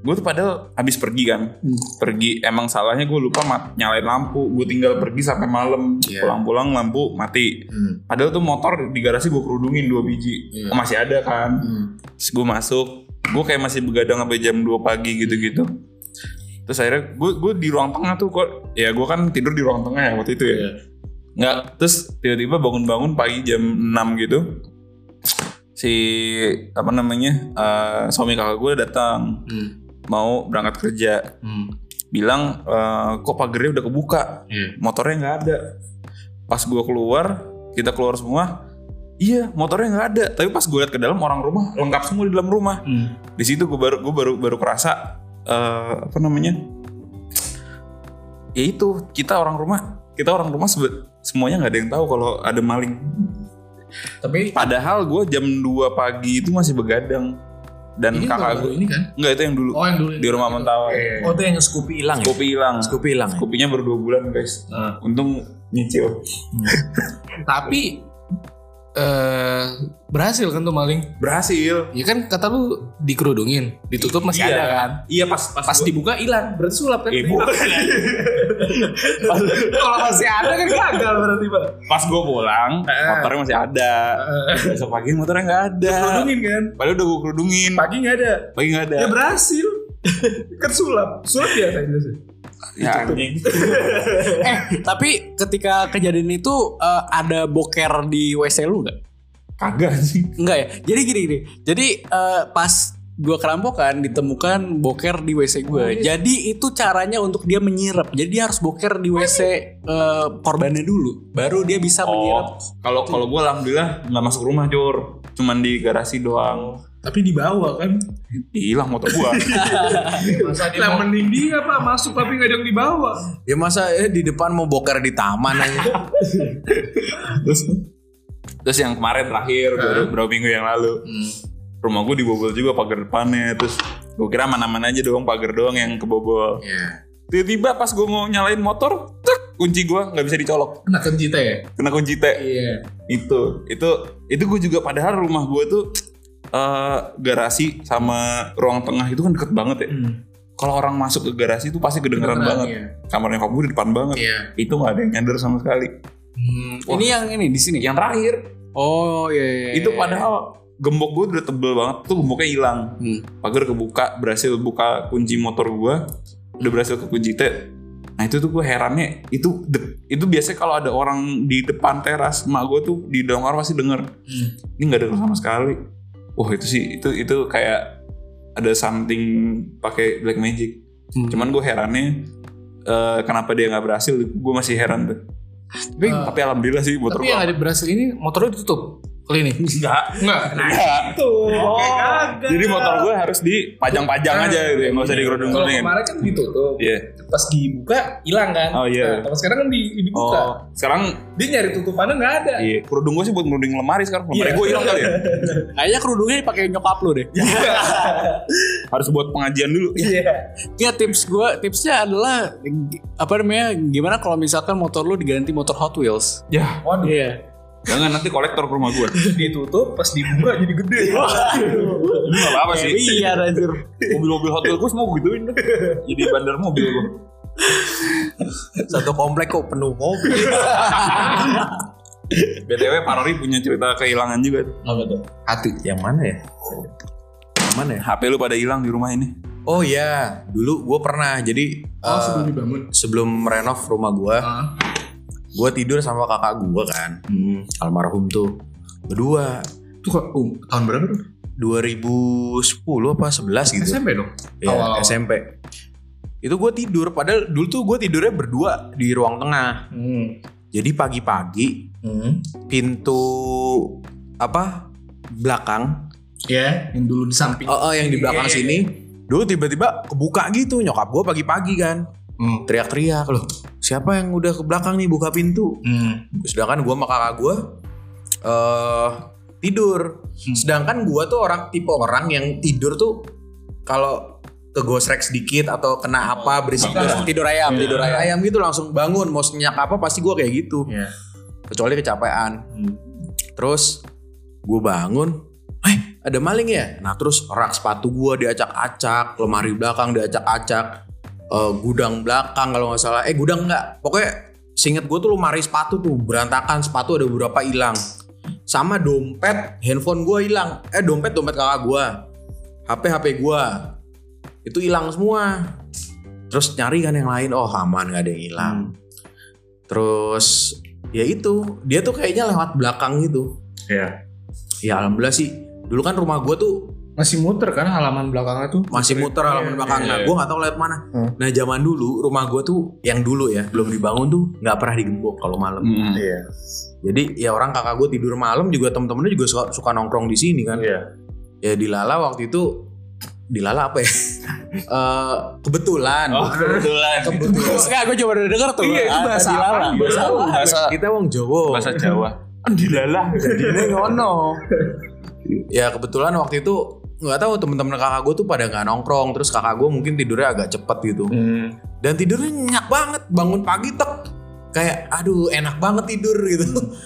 Speaker 5: Gue tuh padahal habis pergi kan. Pergi emang salahnya gue lupa mat- nyalain lampu. Gue tinggal pergi sampai malam. Pulang-pulang lampu mati. Padahal tuh motor di garasi gue kerudungin dua biji. Masih ada kan.
Speaker 6: Hmm.
Speaker 5: Terus gue masuk. Gue kayak masih begadang sampai jam 2 pagi gitu-gitu. Terus akhirnya gue gue di ruang tengah tuh kok ya gue kan tidur di ruang tengah ya waktu itu ya. Nggak, terus tiba-tiba bangun-bangun pagi jam 6 gitu. Si apa namanya? eh, suami kakak gue datang.
Speaker 4: Hmm.
Speaker 5: Mau berangkat kerja. Bilang eh, kok pagernya udah kebuka.
Speaker 4: Iya.
Speaker 5: Motornya nggak ada. Pas gue keluar, kita keluar semua. Iya, motornya nggak ada. Tapi pas gue liat ke dalam orang rumah lengkap semua di dalam rumah.
Speaker 3: Hmm.
Speaker 5: Di situ gue baru gue baru baru kerasa eh, apa namanya? ya itu kita orang rumah kita orang rumah sebe- semuanya nggak ada yang tahu kalau ada maling
Speaker 3: tapi
Speaker 5: padahal gue jam 2 pagi itu masih begadang dan
Speaker 3: ini
Speaker 5: kakak
Speaker 3: baru
Speaker 5: gue
Speaker 3: ini kan
Speaker 5: nggak itu yang dulu
Speaker 3: oh yang dulu Iya,
Speaker 5: di rumah mentawa
Speaker 4: Oh itu yang Scoopy hilang ya.
Speaker 5: kopi hilang
Speaker 4: Scoopy hilang. ya?
Speaker 5: kopinya baru dua bulan guys untung nyicil
Speaker 3: tapi eh berhasil kan tuh maling
Speaker 5: berhasil
Speaker 6: Iya
Speaker 3: ya kan kata lu dikerudungin ditutup masih
Speaker 5: Iya.
Speaker 3: ada kan
Speaker 5: iya pas pas,
Speaker 3: pas
Speaker 5: gua-
Speaker 3: dibuka hilang berarti sulap kan
Speaker 5: Eh, bukan.
Speaker 6: Kalau masih ada
Speaker 4: Iya.
Speaker 6: kan gagal berarti, Pak.
Speaker 5: pas gue pulang motornya masih ada
Speaker 4: Eh.
Speaker 5: besok pagi motornya nggak ada
Speaker 6: Kerudungin kan?
Speaker 5: padahal udah gue kerudungin
Speaker 6: Pagi nggak ada.
Speaker 5: pagi nggak ada
Speaker 6: Ya berhasil. Kan sulap. Sulap ya tadi.
Speaker 5: ya, anjing.
Speaker 2: eh, tapi ketika kejadian itu eh, ada boker di WC lu nggak?
Speaker 5: kagak sih
Speaker 2: Enggak ya. Jadi gini gini. Jadi eh, pas gua kerampokan ditemukan boker di WC gue. Jadi itu caranya untuk dia menyirap. Jadi dia harus boker di WC eh, korbannya dulu, baru dia bisa menyirap.
Speaker 5: Oh, kalau kalau gue alhamdulillah nggak masuk rumah jor, cuman di garasi doang.
Speaker 6: Tapi dibawa kan.
Speaker 5: Hilang motor gue.
Speaker 6: Lah mending dia Pak masuk tapi nggak ada yang dibawa.
Speaker 4: Ya masa eh, di depan mau boker di taman aja.
Speaker 5: terus terus yang kemarin terakhir baru beberapa minggu yang lalu, rumah gue dibobol juga pagar depannya. Terus gue kira aman-aman aja doang pagar doang yang kebobol.
Speaker 3: Iya.
Speaker 5: Tiba-tiba pas gue mau nyalain motor, tek, kunci gue nggak bisa dicolok,
Speaker 3: Kena kencita ya?
Speaker 5: kena kunci T.
Speaker 3: Iya.
Speaker 5: itu itu itu gue juga padahal rumah gue tuh eh, garasi sama ruang tengah itu kan deket banget ya kalau orang masuk ke garasi itu pasti kedengeran
Speaker 3: Hmm. Kedengeran,
Speaker 5: banget kamarnya kamu di depan banget
Speaker 3: Iya.
Speaker 5: itu nggak ada yang nyadar sama sekali
Speaker 2: Ini yang ini di sini. Ya.
Speaker 5: yang terakhir
Speaker 2: Oh iya. iya,
Speaker 5: itu
Speaker 2: iya.
Speaker 5: padahal gembok gue udah tebel banget tuh gemboknya hilang
Speaker 2: Hmm.
Speaker 5: pagar kebuka berhasil buka kunci motor gue udah berhasil ke kunci T nah itu tuh gue herannya itu de- itu biasanya kalau ada orang di depan teras emak gue tuh di dalam kamar pasti denger
Speaker 2: Hmm.
Speaker 5: ini nggak denger sama sekali wah itu sih itu itu kayak ada something pakai black magic
Speaker 2: Hmm.
Speaker 5: cuman gue herannya eh, kenapa dia nggak berhasil gue masih heran tuh
Speaker 3: Eh,
Speaker 5: tapi,
Speaker 2: Ah.
Speaker 5: tapi alhamdulillah sih motor
Speaker 3: Tapi
Speaker 5: gue
Speaker 2: ya-
Speaker 3: yang ada berhasil ini motornya ditutup. Li nih.
Speaker 5: Enggak.
Speaker 3: Enggak.
Speaker 6: Nah,
Speaker 5: Jadi motor gue harus dipajang-pajang aja gitu ya, nggak usah
Speaker 6: Kalau
Speaker 5: digerudung-gerudungin.
Speaker 6: kemarin kan ditutup.
Speaker 5: Iya.
Speaker 6: Pas dibuka hilang kan.
Speaker 5: Oh, iya.
Speaker 6: Nah, Kalau sekarang kan di- dibuka.
Speaker 5: Oh, sekarang
Speaker 6: Dia nyari tutupannya nggak ada.
Speaker 5: Iya, kerudung gue sih buat ngerudung lemari sekarang. Lemari
Speaker 6: Iya.
Speaker 5: gue hilang kali ya.
Speaker 2: Kayaknya kerudungnya dipakai nyokap lu deh.
Speaker 5: Harus buat pengajian dulu.
Speaker 6: Iya.
Speaker 2: Ya tips gue, tipsnya adalah apa namanya? Gimana kalau misalkan motor lu diganti motor Hot Wheels?
Speaker 5: Ya,
Speaker 6: Waduh.
Speaker 2: Iya.
Speaker 5: jangan nanti kolektor ke rumah gue.
Speaker 6: Ditutup pas dibuka jadi gede.
Speaker 5: Ini gak apa-apa sih.
Speaker 2: Iya, anjir.
Speaker 5: Mobil-mobil hotel gue semua gue gituin. deh. Jadi bandar mobil gue.
Speaker 4: Satu komplek kok penuh mobil.
Speaker 5: BTW Parori punya cerita kehilangan juga. tuh.
Speaker 3: Apa tuh?
Speaker 4: Hati yang mana ya? Yang mana ya?
Speaker 5: HP lu pada hilang di rumah ini.
Speaker 4: Oh iya, dulu gue pernah. Jadi
Speaker 3: Oh,
Speaker 4: eh,
Speaker 3: sebelum dibangun. Ah.
Speaker 4: sebelum renov rumah gue, gue tidur sama kakak gue kan,
Speaker 5: Hmm.
Speaker 4: almarhum tuh berdua.
Speaker 3: Itu kok um, tahun berapa tuh?
Speaker 4: 2010 apa 11 gitu.
Speaker 3: SMP dong.
Speaker 4: Ya,
Speaker 3: Awal-awal.
Speaker 4: SMP. Itu gue tidur, padahal dulu tuh gue tidurnya berdua di ruang tengah. Jadi pagi-pagi
Speaker 3: Hmm.
Speaker 4: pintu apa belakang,
Speaker 3: Ya, yang dulu di samping.
Speaker 4: oh, oh, yang di belakang
Speaker 3: Iya, iya,
Speaker 4: sini, dulu tiba-tiba kebuka gitu. Nyokap gue pagi-pagi kan
Speaker 3: Hmm.
Speaker 4: teriak-teriak loh. Siapa yang udah ke belakang nih buka pintu?
Speaker 3: Hmm.
Speaker 4: Sedangkan gue sama kakak gue eh tidur. Sedangkan gue tuh orang tipe orang yang tidur tuh kalau kegosrek sedikit atau kena apa berisik
Speaker 5: Bangun.
Speaker 4: tidur ayam, tidur ayam, ayam gitu langsung bangun mau senyak apa pasti gue kayak gitu.
Speaker 3: Iya.
Speaker 4: Kecuali kecapean. Terus gue bangun, eh ada maling ya? Nah terus rak sepatu gue diacak-acak, lemari belakang diacak-acak, eh, gudang belakang kalau nggak salah, eh gudang nggak, pokoknya Seinget gue tuh lemari sepatu tuh berantakan, sepatu ada beberapa hilang, sama dompet, handphone gue hilang, eh dompet dompet kakak gue, HP HP gue, itu hilang semua. Terus nyari kan yang lain, oh aman nggak ada yang hilang. Terus ya itu dia tuh kayaknya lewat belakang gitu.
Speaker 3: Iya.
Speaker 4: Ya alhamdulillah sih. Dulu kan rumah gue tuh
Speaker 3: Masih muter kan halaman belakangnya tuh?
Speaker 4: masih muter halaman belakang. Nah, gue gak tahu lewat mana.
Speaker 3: Hmm.
Speaker 4: Nah zaman dulu rumah gue tuh yang dulu ya belum dibangun tuh nggak pernah digembok kalau malam.
Speaker 5: Mm.
Speaker 3: Iya.
Speaker 4: Jadi ya orang kakak gue tidur malam juga temen-temennya juga suka, suka nongkrong di sini kan.
Speaker 3: Iya.
Speaker 4: Ya di Lala waktu itu di Lala apa ya? Eh, kebetulan.
Speaker 5: Oh, kebetulan.
Speaker 4: Kebetulan.
Speaker 2: Enggak, gue coba denger tuh.
Speaker 5: Iya, itu
Speaker 2: Ada
Speaker 5: bahasa apa?
Speaker 2: dilarang.
Speaker 5: Bahasa apa? Bahasa
Speaker 4: Kita wong Jawa.
Speaker 5: bahasa Jawa. Dilalah.
Speaker 4: Ini ngono. ya kebetulan waktu itu nggak tahu temen-temen kakak gue tuh pada nggak nongkrong terus kakak gue mungkin tidurnya agak cepet gitu
Speaker 5: Hmm.
Speaker 4: dan tidurnya nyenyak banget bangun pagi tek kayak aduh enak banget tidur gitu
Speaker 5: Hmm.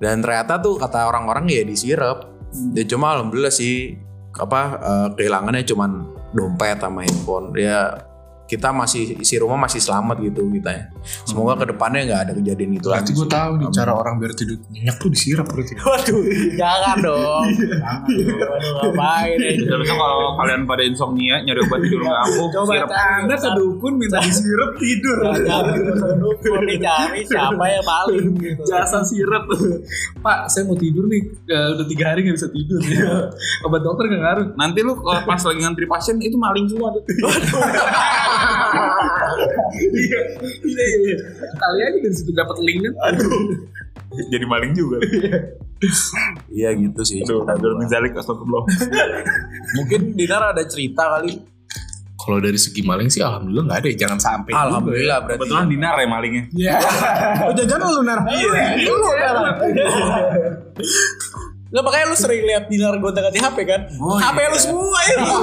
Speaker 4: dan ternyata tuh kata orang-orang ya disirep
Speaker 5: Hmm.
Speaker 4: ya cuma alhamdulillah sih apa eh, kehilangannya cuman dompet sama handphone ya kita masih isi rumah masih selamat gitu kita ya semoga
Speaker 5: Hmm.
Speaker 4: kedepannya nggak ada kejadian itu
Speaker 3: Berarti
Speaker 4: lagi
Speaker 3: gue
Speaker 4: sih.
Speaker 3: tahu nih cara orang biar tidur nyenyak tuh disiram berarti.
Speaker 2: Waduh, jangan dong.
Speaker 6: Iya.
Speaker 2: Waduh, ngapain ya?
Speaker 5: Tapi kan kalau kalian pada insomnia nyari obat tidur nggak ampuh,
Speaker 6: Coba
Speaker 5: sirap.
Speaker 6: tanda ke dukun minta disirup tidur.
Speaker 2: Ini cari siapa yang paling gitu.
Speaker 6: Jasa sirup. Pak, saya mau tidur nih. Eh, udah tiga hari nggak bisa tidur. Obat dokter nggak ngaruh.
Speaker 5: Nanti lu eh, pas lagi ngantri pasien itu maling semua tuh.
Speaker 6: Iya, iya, iya. Kali aja dari situ dapat linknya.
Speaker 5: Jadi maling juga.
Speaker 4: iya gitu sih
Speaker 5: Aduh, Abdul Mizalik astagfirullah.
Speaker 4: mungkin Dinar ada cerita kali
Speaker 3: Kalau dari segi maling sih alhamdulillah nggak ada. ya. Jangan sampai.
Speaker 4: Alhamdulillah berarti.
Speaker 5: Kebetulan Dinar ya malingnya.
Speaker 2: Oh,
Speaker 3: Udah jangan lu nar.
Speaker 6: Iya.
Speaker 2: Iya, Lah makanya lu sering lihat dinar gonta-ganti HP kan? HP
Speaker 4: iya.
Speaker 2: lu semua iya. itu.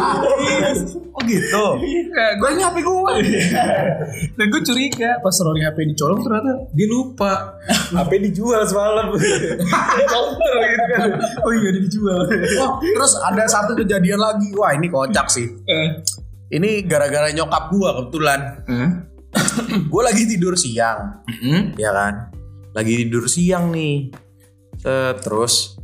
Speaker 4: Oh gitu.
Speaker 5: Eh,
Speaker 6: gue ini HP gue. Iya. Dan gue curiga pas Rory HP dicolong ternyata dia lupa. HP dijual semalam. Counter gitu kan. Oh iya dia dijual.
Speaker 4: terus ada satu kejadian lagi. Wah, ini kocak sih. Ini gara-gara nyokap gua kebetulan. gua lagi tidur siang. Ya kan? Lagi tidur siang nih. Eh, Terus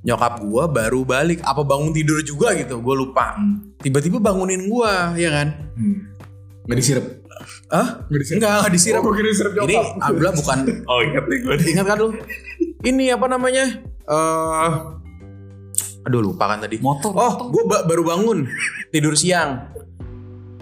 Speaker 4: nyokap gua baru balik apa bangun tidur juga gitu. Gua lupa. Tiba-tiba bangunin gua, ya kan?
Speaker 3: Nggak disiram.
Speaker 4: Hah? Enggak, enggak disiram. Ini Abdullah bukan
Speaker 5: Oh ingat nih gue nih.
Speaker 4: Ingat kan lu? Ini apa namanya? Eh aduh lupa kan tadi.
Speaker 5: Motor,
Speaker 4: Oh, gue baru bangun tidur siang.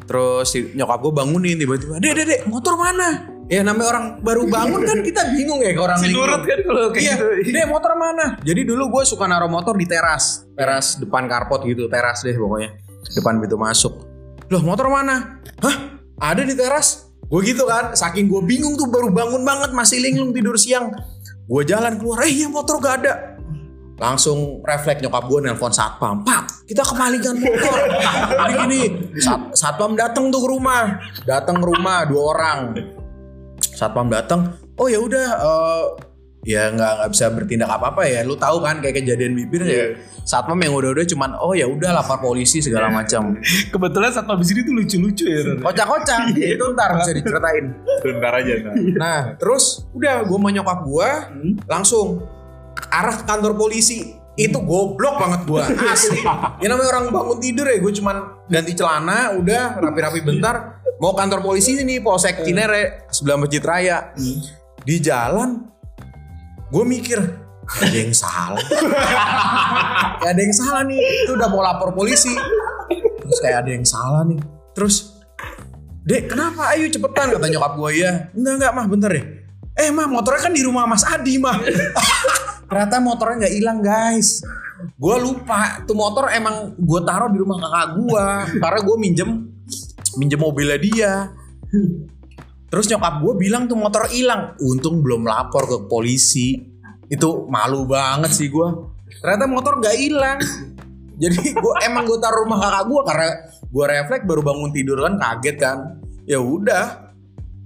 Speaker 4: Terus si- nyokap gue bangunin tiba-tiba, "Dek, dek, dek, motor mana?" Ya namanya orang baru bangun kan kita bingung ya orang
Speaker 5: Nurut kan kalau kayak
Speaker 4: Iya,
Speaker 5: gitu.
Speaker 4: deh motor mana? Jadi dulu gue suka naruh motor di teras, teras depan karpot gitu, teras deh pokoknya, depan pintu masuk. Loh motor mana? Hah? Ada di teras? Gue gitu kan, saking gue bingung tuh baru bangun banget masih linglung tidur siang. Gue jalan keluar, eh iya motor gak ada. Langsung refleks nyokap gue nelpon satpam. Pak, kita kemalingan motor. Jadi gini, sat- satpam datang tuh ke rumah. Datang ke rumah dua orang satpam datang oh ya udah eh, ya nggak nggak bisa bertindak apa apa ya lu tahu kan kayak kejadian bibir ya satpam yang udah udah cuman oh ya udah lapor polisi segala macam
Speaker 6: Kebetulan saat di sini tuh lucu-lucu ya. Ron.
Speaker 4: kocak-kocak itu ntar bisa diceritain
Speaker 5: Bentar aja. Nah.
Speaker 4: nah terus udah gue menyokap gue langsung arah ke kantor polisi itu goblok banget gua asli ya namanya orang bangun tidur ya gue cuman ganti celana udah rapi-rapi bentar mau kantor polisi ini polsek Cinere sebelah masjid raya di jalan gue mikir "Gak ada yang salah Gak ada yang salah nih itu udah mau lapor polisi terus kayak ada yang salah nih terus dek kenapa ayo cepetan kata nyokap gue ya enggak enggak mah bentar deh eh mah motornya kan di rumah mas Adi mah ternyata motornya nggak hilang guys gue lupa tuh motor emang gue taruh di rumah kakak gue karena gue minjem minjem mobilnya dia terus nyokap gue bilang tuh motor hilang untung belum lapor ke polisi itu malu banget sih gue ternyata motor nggak hilang jadi gue emang gue taruh rumah kakak gue karena gue refleks baru bangun tidur kan kaget kan ya udah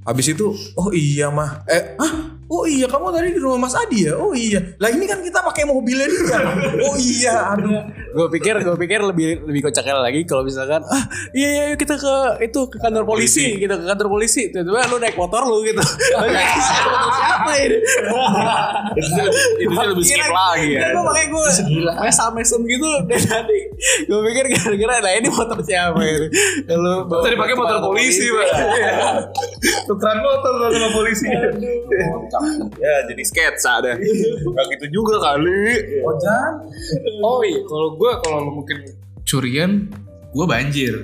Speaker 4: Habis itu, oh iya mah, eh, ah, oh iya kamu tadi di rumah Mas Adi ya, oh iya, lah ini kan kita pakai mobilnya dia, oh iya, aduh,
Speaker 2: gue pikir gue pikir lebih lebih kocaknya lagi kalau misalkan ah iya iya yuk kita ke itu ke kantor polisi gitu ke kantor polisi tiba-tiba lu naik motor lu gitu motor siapa ini
Speaker 5: Itu sih lebih- Iya. itu sih lebih skip lagi ya.
Speaker 2: Dan gue pakai gue mesam mesam gitu dari tadi gue pikir kira-kira nah ini motor siapa ini kalau
Speaker 5: Tadi pakai motor polisi, Pak.
Speaker 2: Iya.
Speaker 6: Tukeran motor lo sama polisi.
Speaker 5: Ya, jadi sketsa ada. Gak gitu juga kali.
Speaker 6: Oh iya, kalau gue kalau lo mungkin curian, gue banjir.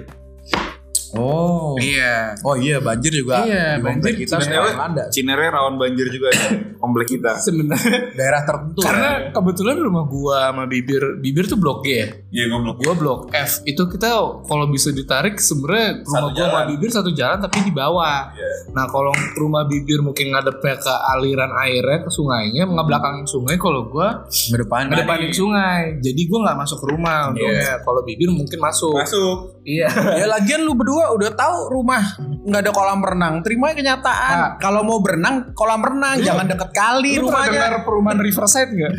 Speaker 4: oh,
Speaker 6: Iya.
Speaker 4: oh iya banjir juga,
Speaker 6: Iya,
Speaker 4: di komplek kita
Speaker 6: banjir juga.
Speaker 4: sekarang ada
Speaker 5: Cinere rawan banjir juga ya, komplek kita.
Speaker 6: Sebenarnya
Speaker 4: daerah tertentu, ya,
Speaker 6: karena kebetulan rumah gua sama bibir bibir tuh blok G ya.
Speaker 5: Iya, goblok.
Speaker 6: Gua blok F. Itu kita kalau bisa ditarik sebenarnya rumah gua sama
Speaker 5: jalan.
Speaker 6: bibir satu jalan tapi di bawah.
Speaker 5: Iya.
Speaker 6: Nah, kalau rumah bibir mungkin ngadepnya ke aliran airnya ke sungainya, ngebelakangin sungai kalau gua
Speaker 4: depan,
Speaker 6: ngedepanin sungai. Jadi gua nggak masuk ke rumah untungnya. Kalau bibir mungkin masuk.
Speaker 5: Masuk.
Speaker 6: Iya.
Speaker 4: ya lagian lu berdua udah tahu rumah nggak ada kolam renang, terima ya kenyataan, kalau mau berenang kolam renang, jangan deket kali
Speaker 6: Ah. Iya. Lu pernah
Speaker 4: rumahnya, Iya.
Speaker 6: dengar perumahan Riverside nggak?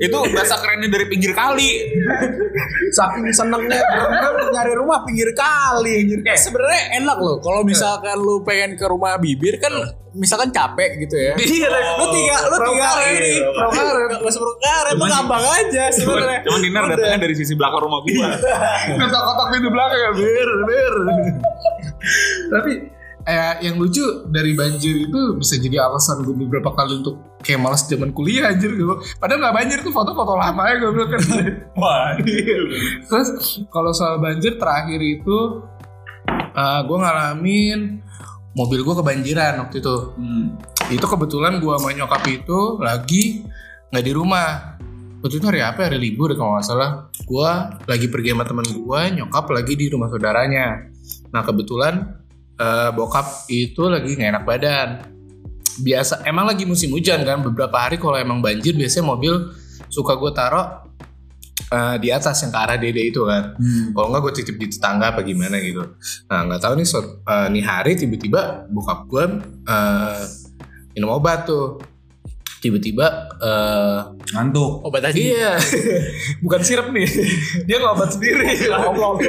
Speaker 5: Itu bahasa kerennya dari pinggir kali.
Speaker 4: saking senengnya berenang nyari rumah pinggir kali, anjir.
Speaker 2: Eh,
Speaker 4: Iya.
Speaker 2: sebenarnya enak loh kalau misalkan lu pengen ke rumah bibir kan misalkan capek gitu ya
Speaker 5: Iya,
Speaker 2: lu tiga lu tiga ini prokaret nggak usah prokaret lu gampang aja sebenarnya
Speaker 5: Cuman Dinar datangnya dari sisi belakang rumah gua.
Speaker 6: Kotak-kotak pintu belakang ya, bir, bir. Tapi eh, yang lucu dari banjir itu bisa jadi alasan gue beberapa kali untuk kayak malas zaman kuliah anjir gue. Padahal nggak banjir tuh foto-foto lama ya gue bilang kan.
Speaker 5: Wah.
Speaker 6: Terus kalau soal banjir terakhir itu eh, gue ngalamin mobil gue kebanjiran waktu itu.
Speaker 4: Hmm.
Speaker 6: Itu kebetulan gue sama nyokap itu lagi nggak di rumah. Waktu itu hari ya, apa? Hari libur kalau nggak salah. Gue lagi pergi sama teman gue, nyokap lagi di rumah saudaranya. Nah kebetulan eh, bokap itu lagi nggak enak badan. Biasa emang lagi musim hujan kan. Beberapa hari kalau emang banjir biasanya mobil suka gue taruh eh, di atas yang ke arah dede itu kan. Kalau nggak gue titip di tetangga apa gimana gitu. Nah nggak tahu nih suat- eh, nih hari tiba-tiba bokap gue eh, minum obat tuh. Tiba-tiba eh,
Speaker 4: ngantuk.
Speaker 2: obat aja
Speaker 6: Iya. Bukan sirup nih. Dia ngobat sendiri. Oblong.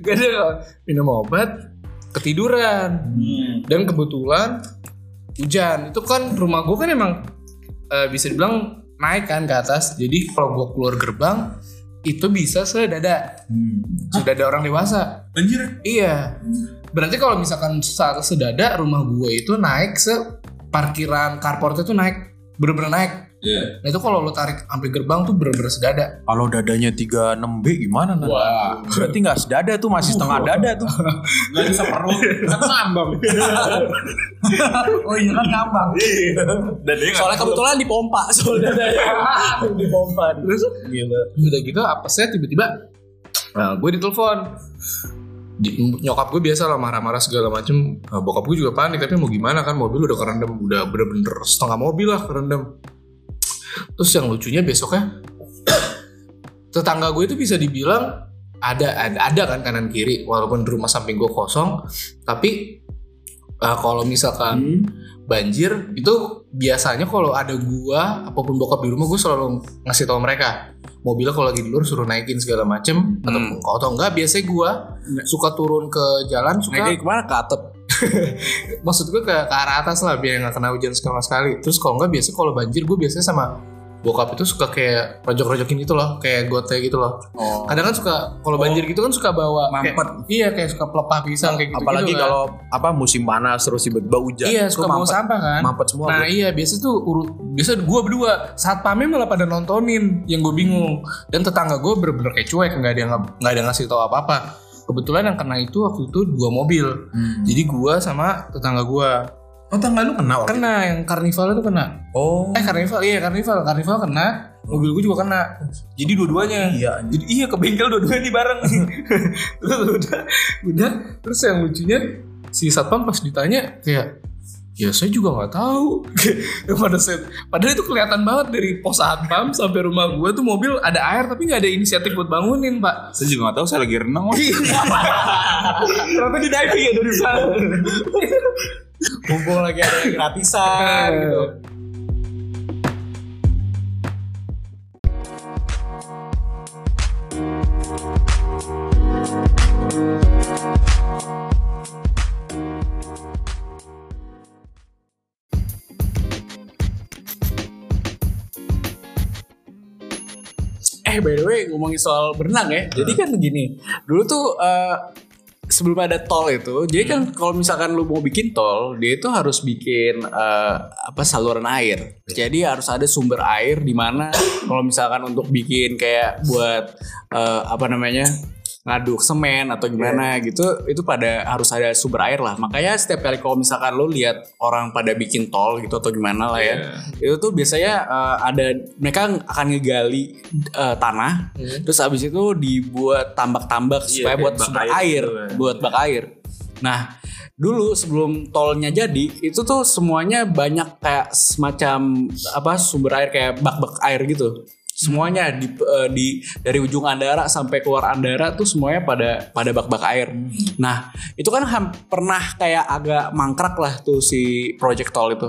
Speaker 6: Gak dia nggak- minum obat ketiduran dan kebetulan hujan. Itu kan rumah gue kan emang eh, bisa dibilang naik kan ke atas. Jadi kalau gue keluar gerbang itu bisa sedada. Sudah ada orang dewasa.
Speaker 5: Banjir.
Speaker 6: Iya. Berarti kalau misalkan saat sedada rumah gue itu naik se parkiran carport itu naik bener-bener naik
Speaker 5: Iya.
Speaker 6: Nah itu kalau lo tarik sampai gerbang tuh bener-bener sedada.
Speaker 4: Kalau dadanya 36B gimana Nan?
Speaker 6: Wah.
Speaker 4: Berarti nggak sedada tuh masih setengah dada tuh.
Speaker 5: Gak bisa perlu.
Speaker 6: Kan ngambang. oh iya kan ngambang.
Speaker 5: Dan dia nggak-
Speaker 2: Soalnya kebetulan dipompa soalnya dipompa.
Speaker 6: Terus gila. Udah gitu apa saya tiba-tiba nah, gue ditelepon. Di- nyokap gue biasa lah marah-marah segala macem Nah, bokap gue juga panik tapi mau gimana kan mobil udah kerendam udah bener-bener setengah mobil lah kerendam terus yang lucunya besoknya tetangga gue itu bisa dibilang ada ada, ada kan kanan kiri walaupun di rumah samping gue kosong tapi eh, kalau misalkan banjir itu biasanya kalau ada gua apapun bokap di rumah gue selalu ngasih tahu mereka mobilnya kalau lagi di luar suruh naikin segala macem atau kalau tau enggak biasanya gua suka turun ke jalan suka
Speaker 4: Naiknya kemana ke atap?
Speaker 6: maksud gue ke, ke arah atas lah biar nggak kena hujan sama sekali terus kalau nggak biasa kalau banjir gue biasanya sama bokap itu suka kayak rojok-rojokin gitu loh kayak gote gitu loh kadang kan suka kalau banjir gitu kan suka bawa kayak-
Speaker 4: Oh. Mampet.
Speaker 6: iya kayak suka pelepah pisang kayak gitu
Speaker 4: Apalagi kalau apa musim panas terus tiba-tiba hujan.
Speaker 6: iya
Speaker 4: Itu
Speaker 6: suka bawa
Speaker 4: mampet.
Speaker 6: sampah kan
Speaker 4: Mampet semua.
Speaker 6: Nah
Speaker 4: bro.
Speaker 6: iya biasa tuh urut biasa gue berdua saat pamit malah pada nontonin yang gue bingung dan tetangga gue bener-bener kayak cuek nggak ada yang nggak ada yang ngasih tahu apa-apa kebetulan yang kena itu waktu itu dua mobil
Speaker 4: Hmm.
Speaker 6: jadi gue sama tetangga gue
Speaker 3: Oh tanggal lu kena waktu
Speaker 6: kena yang karnival itu kena
Speaker 4: Oh.
Speaker 6: eh karnival iya karnival karnival kena mobil gue juga kena jadi dua-duanya
Speaker 4: Iya.
Speaker 6: jadi iya ke bengkel dua-duanya nih bareng terus udah udah terus yang lucunya si satpam pas ditanya kayak ya saya juga nggak tahu pada set padahal itu kelihatan banget dari pos satpam sampai rumah gue tuh mobil ada air tapi nggak ada inisiatif buat bangunin pak
Speaker 5: Saya juga gak tahu saya lagi renang.
Speaker 4: Iya.
Speaker 5: Wah.
Speaker 6: kenapa di diving ya dari sana mumpung lagi ada yang
Speaker 4: Nah.
Speaker 6: gratisan gitu
Speaker 2: Eh by the way ngomongin soal berenang ya. Jadi kan gini, dulu tuh eh, sebelum ada tol itu, jadi kan kalau misalkan lu mau bikin tol, dia itu harus bikin eh, apa saluran air. Jadi harus ada sumber air di mana kalau misalkan untuk bikin kayak buat eh, apa namanya? ngaduk semen atau gimana gitu itu pada harus ada sumber air lah makanya setiap kali kalau misalkan lu lihat orang pada bikin tol gitu atau gimana lah ya itu tuh biasanya eh, ada mereka akan ngegali eh, tanah terus abis itu dibuat tambak-tambak supaya buat sumber air, buat bak air nah dulu sebelum tolnya jadi itu tuh semuanya banyak kayak semacam apa sumber air kayak bak-bak air gitu semuanya di, eh, di dari ujung Andara sampai keluar Andara tuh semuanya pada pada bak-bak air. Nah, itu kan ham- pernah kayak agak mangkrak lah tuh si Project Tol itu.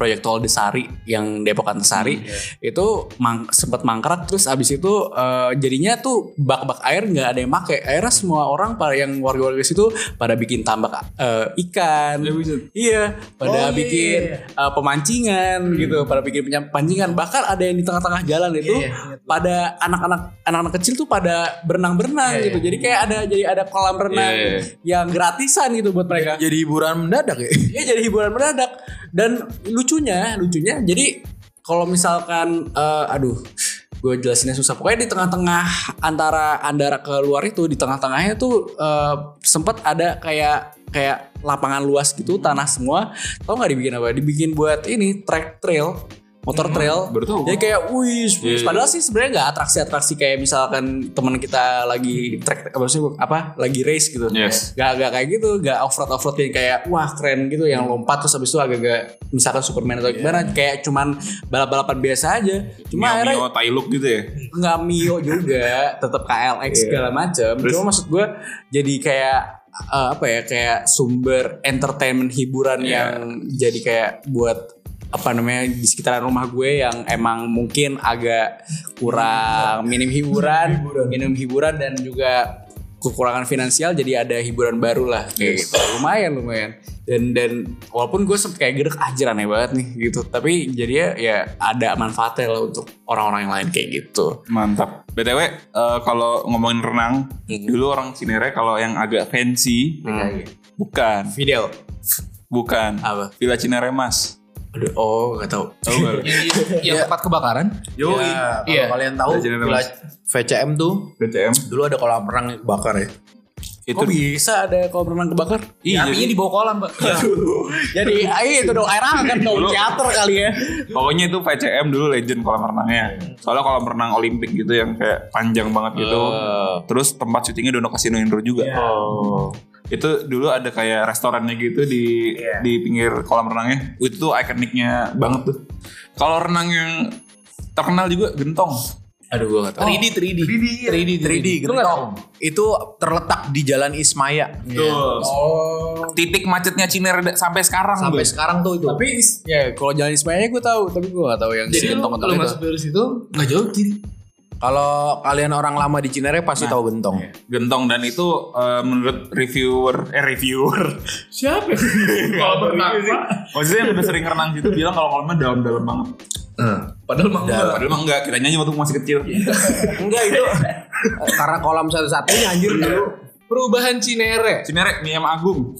Speaker 2: Proyek Tol Desari yang Depokan Desari itu mang, sempat mangkrak terus abis itu eh, jadinya tuh bak-bak air nggak ada yang make akhirnya semua orang para yang warga-warga situ pada bikin tambak eh, ikan iya pada bikin eh, pemancingan gitu pada bikin penyam- pemancingan bahkan ada yang di tengah-tengah jalan
Speaker 4: Iya,
Speaker 2: itu pada anak-anak anak-anak kecil tuh pada berenang-berenang gitu jadi kayak ada jadi ada kolam renang
Speaker 5: Iya, iya.
Speaker 2: yang gratisan gitu buat mereka
Speaker 4: Jadi hiburan mendadak ya.
Speaker 2: Iya jadi hiburan mendadak dan lucunya lucunya jadi kalau misalkan eh, aduh gue jelasinnya susah pokoknya di tengah-tengah antara andara ke luar itu di tengah-tengahnya tuh eh, sempat ada kayak kayak lapangan luas gitu tanah semua tau nggak dibikin apa dibikin buat ini track trail motor
Speaker 4: Hmm.
Speaker 2: trail
Speaker 5: baru tahu.
Speaker 2: jadi kayak wih
Speaker 5: Iya, iya.
Speaker 2: padahal sih sebenarnya nggak atraksi-atraksi kayak misalkan teman kita lagi track apa sih, apa lagi race gitu
Speaker 5: Yes.
Speaker 2: Gak, gak kayak gitu, gak offroad offroad yang kayak wah keren gitu yang lompat terus habis itu agak-agak misalkan Superman atau gimana kayak cuman balap-balapan biasa aja. Cuma akhirnya
Speaker 5: Iya. Mio, tai look gitu ya.
Speaker 2: nggak Mio juga, tetap KLX
Speaker 5: Iya.
Speaker 2: segala macam. Cuma maksud gue jadi kayak eh, apa ya kayak sumber entertainment hiburan
Speaker 5: Iya.
Speaker 2: yang jadi kayak buat apa namanya di sekitaran rumah gue yang emang mungkin agak kurang minim hiburan, minim hiburan dan juga kekurangan finansial jadi ada hiburan baru lah kayak gitu. lumayan lumayan dan dan walaupun gue sempet kayak gedek anjir aneh banget nih gitu tapi jadinya ya ada manfaatnya lah untuk orang-orang yang lain kayak gitu
Speaker 5: Mantap. BTW, eh, kalau ngomongin renang, dulu orang Cinere kalau yang
Speaker 6: Iya,
Speaker 5: agak fancy, bukan,
Speaker 2: video
Speaker 5: bukan
Speaker 2: apa
Speaker 4: Ah.
Speaker 5: Villa Cinere Mas.
Speaker 4: Aduh, oh gak tau.
Speaker 6: yang tempat kebakaran
Speaker 4: Yo,
Speaker 6: Iya.
Speaker 4: iya. Kalau
Speaker 6: Iya.
Speaker 4: kalian tahu
Speaker 5: Belajar dari
Speaker 4: village VCM tuh
Speaker 5: BCM
Speaker 4: dulu ada kolam renang bakar ya.
Speaker 5: itu
Speaker 2: bisa ada kolam renang kebakar?
Speaker 6: Ya,
Speaker 5: iya
Speaker 6: apinya
Speaker 5: jadi
Speaker 6: di bawah kolam pak
Speaker 2: Jadi ayo itu dong air hangat dong teater kali ya.
Speaker 5: pokoknya itu VCM dulu legend kolam renangnya soalnya kolam renang olimpik gitu yang kayak panjang banget gitu terus tempat syutingnya Dono Casino Indoor juga
Speaker 4: Oh.
Speaker 5: itu dulu ada kayak restorannya gitu di di pinggir kolam renangnya itu tuh ikoniknya banget tuh kalau renang yang terkenal juga gentong
Speaker 4: Aduh, gue gak tau. 3D, 3D. 3D, 3D, 3D. gentong. gitu. Itu terletak di Jalan Ismaya.
Speaker 5: Tuh. titik macetnya Cinere sampai sekarang
Speaker 4: Sampai
Speaker 5: Bos.
Speaker 4: sekarang tuh itu.
Speaker 2: Tapi ya kalau jalan Ismaya gue tahu, tapi gue gak tahu yang si
Speaker 6: jadi lu
Speaker 2: gentong
Speaker 6: kalau
Speaker 2: gentong itu.
Speaker 6: masuk dari situ nggak jauh kiri
Speaker 4: Kalau kalian orang lama di Cinere pasti
Speaker 6: Nah.
Speaker 4: tahu gentong.
Speaker 5: gentong dan itu eh, menurut reviewer eh reviewer
Speaker 6: siapa kalau berenang Pak.
Speaker 5: maksudnya Oh, yang udah sering renang situ bilang kalau kolamnya dalam-dalam banget
Speaker 6: padahal mah enggak
Speaker 5: padahal mah enggak kita nyanyi waktu masih kecil
Speaker 4: Enggak itu karena kolam satu-satunya anjir dulu.
Speaker 6: perubahan Cinere
Speaker 5: Cinere Niam Agung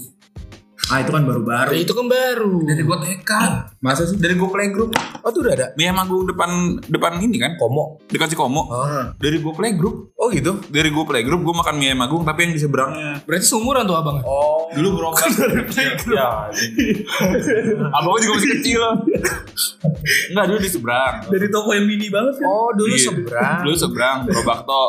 Speaker 4: Ah itu kan baru-baru. Ah,
Speaker 6: itu kan baru
Speaker 5: dari gua TK masa sih dari gua playgroup
Speaker 4: Oh tuh udah ada.
Speaker 5: Niam Agung depan depan ini kan
Speaker 4: Komo.
Speaker 5: dekat Cikomo
Speaker 4: Ah.
Speaker 5: dari gua playgroup
Speaker 4: Oh gitu.
Speaker 5: dari gua playgroup gua makan mie ayam agung tapi yang di seberangnya
Speaker 6: berarti seumuran tuh abang
Speaker 4: Oh.
Speaker 5: dulu Iya. berobat Iya. dari playgroup abang gua iya. juga masih kecil enggak dulu di seberang
Speaker 6: dari toko yang mini banget
Speaker 4: Oh dulu
Speaker 5: Iya.
Speaker 4: seberang.
Speaker 5: dulu seberang gerobak to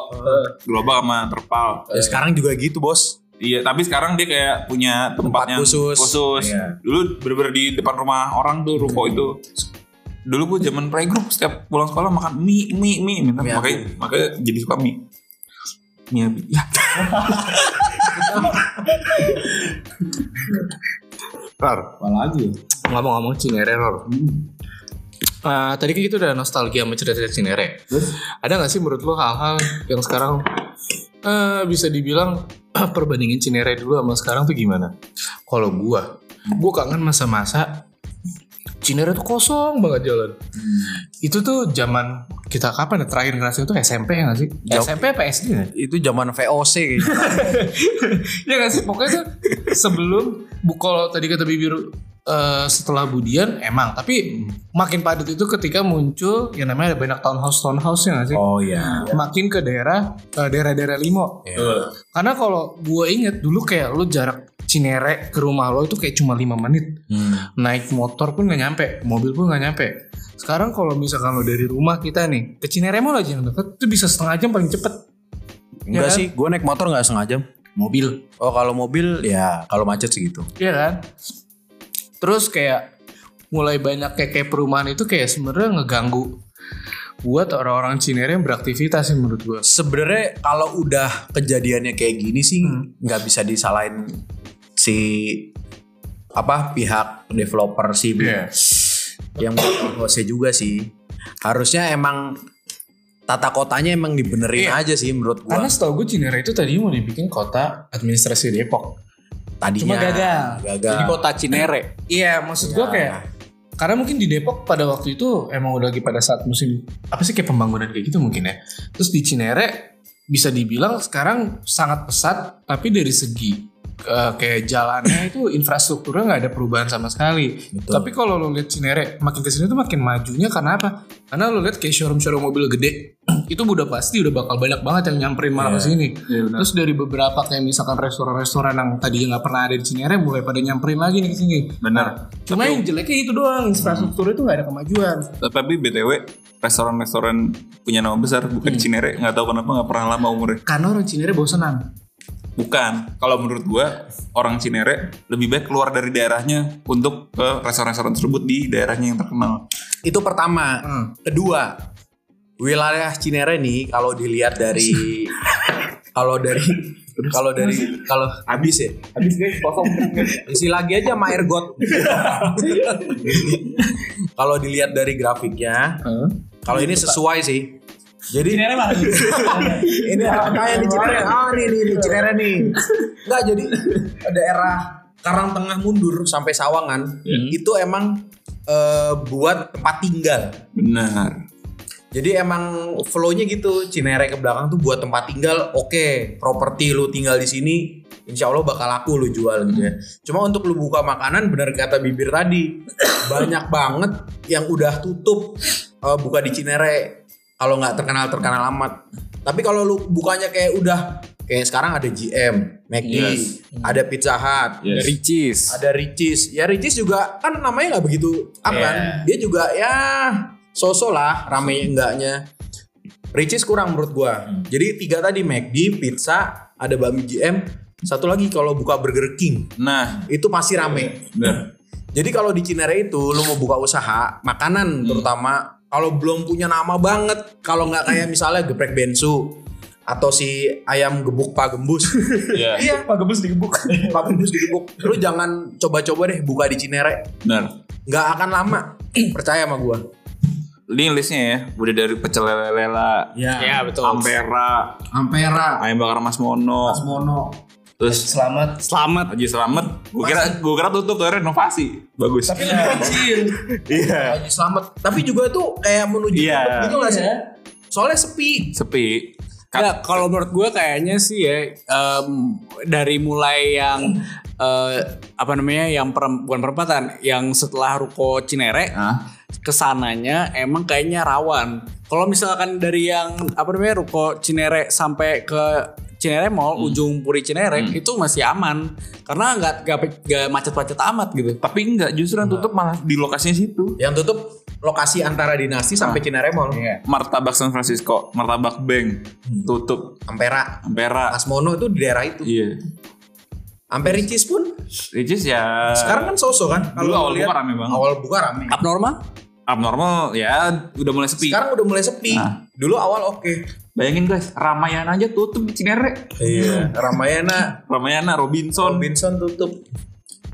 Speaker 5: gerobak sama terpal
Speaker 4: Ya, sekarang juga gitu bos.
Speaker 5: Iya, tapi sekarang dia kayak punya tempatnya
Speaker 4: khusus. Iya. Hmm.
Speaker 5: Dulu bener-bener di depan rumah orang tuh ruko itu. Dulu gue zaman playgroup setiap pulang sekolah makan mie, mie, mie. Minta,
Speaker 4: Mie
Speaker 5: makanya, makanya jadi suka mie. Mie abi. Ya.
Speaker 4: Rar.
Speaker 5: Apalagi
Speaker 6: ngomong-ngomong Cinere Ror Ah, tadi kan kita udah nostalgia sama cerita-cerita Cinere ada nggak sih menurut lo hal-hal yang sekarang eh, bisa dibilang perbandingin Cinere dulu sama sekarang tuh gimana kalau gua gua kangen masa-masa Cinere tuh kosong banget jalan itu tuh zaman kita kapan ya? terakhir ngerasain tuh SMP ya nggak sih
Speaker 4: Jauh.
Speaker 6: SMP apa SD ya?
Speaker 4: Itu zaman VOC kayaknya.
Speaker 6: ya nggak sih pokoknya tuh sebelum bu kalau tadi kata bibiru eh, setelah Budian emang tapi makin padat itu ketika muncul yang namanya ada banyak townhouse townhouse ya nggak sih
Speaker 4: oh iya.
Speaker 6: makin ke daerah eh, daerah-daerah limo karena kalau gue inget dulu kayak lu jarak Cinere ke rumah lo itu kayak cuma 5 menit
Speaker 4: Hmm.
Speaker 6: naik motor pun nggak nyampe mobil pun nggak nyampe sekarang kalau misalkan lo dari rumah kita nih ke Cinere mau aja yang deket itu bisa setengah jam paling cepet
Speaker 4: Enggak
Speaker 6: Ya kan?
Speaker 4: sih, gue naik motor nggak sengaja. Mobil. Oh kalau mobil ya kalau macet segitu.
Speaker 6: Iya kan? Terus kayak mulai banyak kayak, kayak perumahan itu kayak sebenarnya ngeganggu buat orang-orang Cinere yang beraktivitas sih menurut gue.
Speaker 4: Sebenarnya kalau udah kejadiannya kayak gini sih nggak bisa disalahin si apa pihak developer sih yang bosnya juga sih. Harusnya emang tata kotanya emang dibenerin aja sih menurut gua.
Speaker 6: Karena setahu gue Cinere itu tadi mau dibikin kota administrasi Depok.
Speaker 4: Tadinya
Speaker 6: cuma gagal.
Speaker 4: Gagal.
Speaker 2: Jadi kota Cinere.
Speaker 6: Iya, maksud gue kayak karena mungkin di Depok pada waktu itu emang udah lagi pada saat musim apa sih kayak pembangunan kayak gitu mungkin ya. Terus di Cinere bisa dibilang sekarang sangat pesat, tapi dari segi eh, kayak jalannya itu infrastrukturnya nggak ada perubahan sama sekali.
Speaker 4: Betul.
Speaker 6: Tapi kalau lo lihat Cinere makin kesini tuh makin majunya karena apa? Karena lo lihat kayak showroom-showroom mobil gede itu udah pasti udah bakal banyak banget yang nyamperin malah ke sini.
Speaker 4: Iya,
Speaker 6: Terus dari beberapa kayak misalkan restoran-restoran yang tadinya nggak pernah ada di Cinere mulai pada nyamperin lagi nih ke sini.
Speaker 5: Bener.
Speaker 6: Cuma yang jeleknya itu doang infrastruktur itu nggak ada kemajuan.
Speaker 5: Tapi BTW restoran-restoran punya nama besar bukan
Speaker 4: Hmm.
Speaker 5: Cinere nggak tahu kenapa nggak pernah lama umurnya
Speaker 6: Karena orang Cinere bosenan.
Speaker 5: bukan kalau menurut gua orang Cinere lebih baik keluar dari daerahnya untuk ke restoran-restoran tersebut di daerahnya yang terkenal
Speaker 4: Itu pertama.
Speaker 6: Hmm.
Speaker 4: Kedua, wilayah Cinere nih kalau dilihat dari kalau dari kalau dari kalau habis ya. Habis guys, kosong. Isi lagi aja sama air got. kalau dilihat dari grafiknya, kalau ini sesuai sih. Jadi Hmm. Cinere ini kayak di Cinere. Ah, ini ini di Cinere nih. Enggak jadi daerah Karang Tengah mundur sampai Sawangan itu emang eh, buat tempat tinggal.
Speaker 5: benar
Speaker 4: Jadi emang flow-nya gitu, Cinere ke belakang tuh buat tempat tinggal, oke, properti lu tinggal di sini insya Allah bakal laku lu jual gitu ya. Cuma untuk lu buka makanan benar kata bibir tadi banyak banget yang udah tutup eh, buka di Cinere kalau nggak terkenal terkenal amat. Tapi kalau lu bukanya kayak udah kayak sekarang ada GM, McD,
Speaker 5: Yes.
Speaker 4: ada Pizza Hut,
Speaker 5: Yes.
Speaker 2: Ricis.
Speaker 4: ada Ricis. Ya Ricis juga kan namanya nggak begitu up kan.
Speaker 5: Iya.
Speaker 4: Dia juga ya sosok lah rame enggaknya. Ricis kurang menurut gua. Jadi tiga tadi McD, pizza, ada Bami GM. Satu lagi kalau buka Burger King
Speaker 5: Nah,
Speaker 4: itu masih rame.
Speaker 5: nah,
Speaker 4: Jadi kalau di Cinere itu lu mau buka usaha
Speaker 5: Hmm.
Speaker 4: makanan terutama kalau belum punya nama banget, kalau nggak kayak misalnya geprek bensu atau si ayam gebuk pak gembus
Speaker 5: iya.
Speaker 4: Iya, Pak Gembus digebuk. Pak Gembus digebuk. Lu jangan coba-coba deh buka di Cinere.
Speaker 5: Benar.
Speaker 4: Nggak akan lama. Percaya sama gua.
Speaker 5: Ini listnya ya, udah dari pecel lele lela,
Speaker 3: Ya.
Speaker 6: betul.
Speaker 5: ampera,
Speaker 3: Ampera,
Speaker 5: ayam bakar mas mono,
Speaker 3: Mono,
Speaker 5: terus
Speaker 7: Selamat.
Speaker 2: Selamat.
Speaker 5: Haji Selamat. Gue kira gue kira tutup tuh renovasi. Bagus.
Speaker 7: Tapi lebih kecil.
Speaker 5: Iya.
Speaker 4: Haji Slamet. Tapi juga tuh kayak menuju
Speaker 5: Iya.
Speaker 4: tempat gitu nggak sih? Soalnya sepi.
Speaker 5: Sepi.
Speaker 2: Ya, kalau menurut gue kayaknya sih ya em, dari mulai yang eh, apa namanya yang perem- bukan perempatan, yang setelah ruko Cinere
Speaker 5: Hah?
Speaker 2: kesananya emang kayaknya rawan. Kalau misalkan dari yang apa namanya ruko Cinere sampai ke Cinere Mall ujung Puri Cinere itu masih aman karena nggak nggak nggak macet-macet amat gitu.
Speaker 5: Tapi enggak justru yang tutup malah di lokasinya situ.
Speaker 4: Yang tutup lokasi antara dinasti
Speaker 5: Ah.
Speaker 4: sampai Cinere Mall.
Speaker 5: Iya. Martabak San Francisco, Martabak Bank tutup.
Speaker 4: Ampera.
Speaker 5: Ampera.
Speaker 4: Asmono itu di daerah itu.
Speaker 5: Iya.
Speaker 4: Ampericis pun
Speaker 5: Which is ya
Speaker 4: sekarang kan sosok kan.
Speaker 5: Ah. dulu awal
Speaker 4: Kalau
Speaker 5: buka
Speaker 4: lihat
Speaker 5: rame banget.
Speaker 4: awal buka rame.
Speaker 2: Abnormal?
Speaker 5: Abnormal ya udah mulai sepi.
Speaker 4: Sekarang udah mulai sepi.
Speaker 5: Nah.
Speaker 4: Dulu awal oke.
Speaker 5: Bayangin guys, Ramayana aja tutup di Cinere.
Speaker 4: Iya. Ramayana
Speaker 5: Ramayana, Robinson.
Speaker 4: Robinson tutup.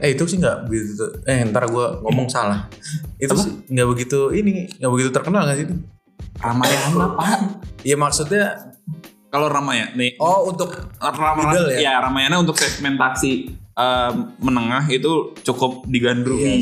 Speaker 4: Eh itu sih nggak begitu. Eh ntar gue ngomong salah. Itu
Speaker 5: Apa?
Speaker 4: sih nggak begitu ini nggak begitu terkenal nggak sih itu?
Speaker 5: Ramayana apa?
Speaker 4: Iya maksudnya
Speaker 5: Kalau Ramayana nih,
Speaker 4: oh untuk
Speaker 5: Ramayana,
Speaker 4: Middle ya?
Speaker 5: ya? Ramayana untuk segmentasi eh, menengah itu cukup
Speaker 2: iya.
Speaker 5: digandrungi.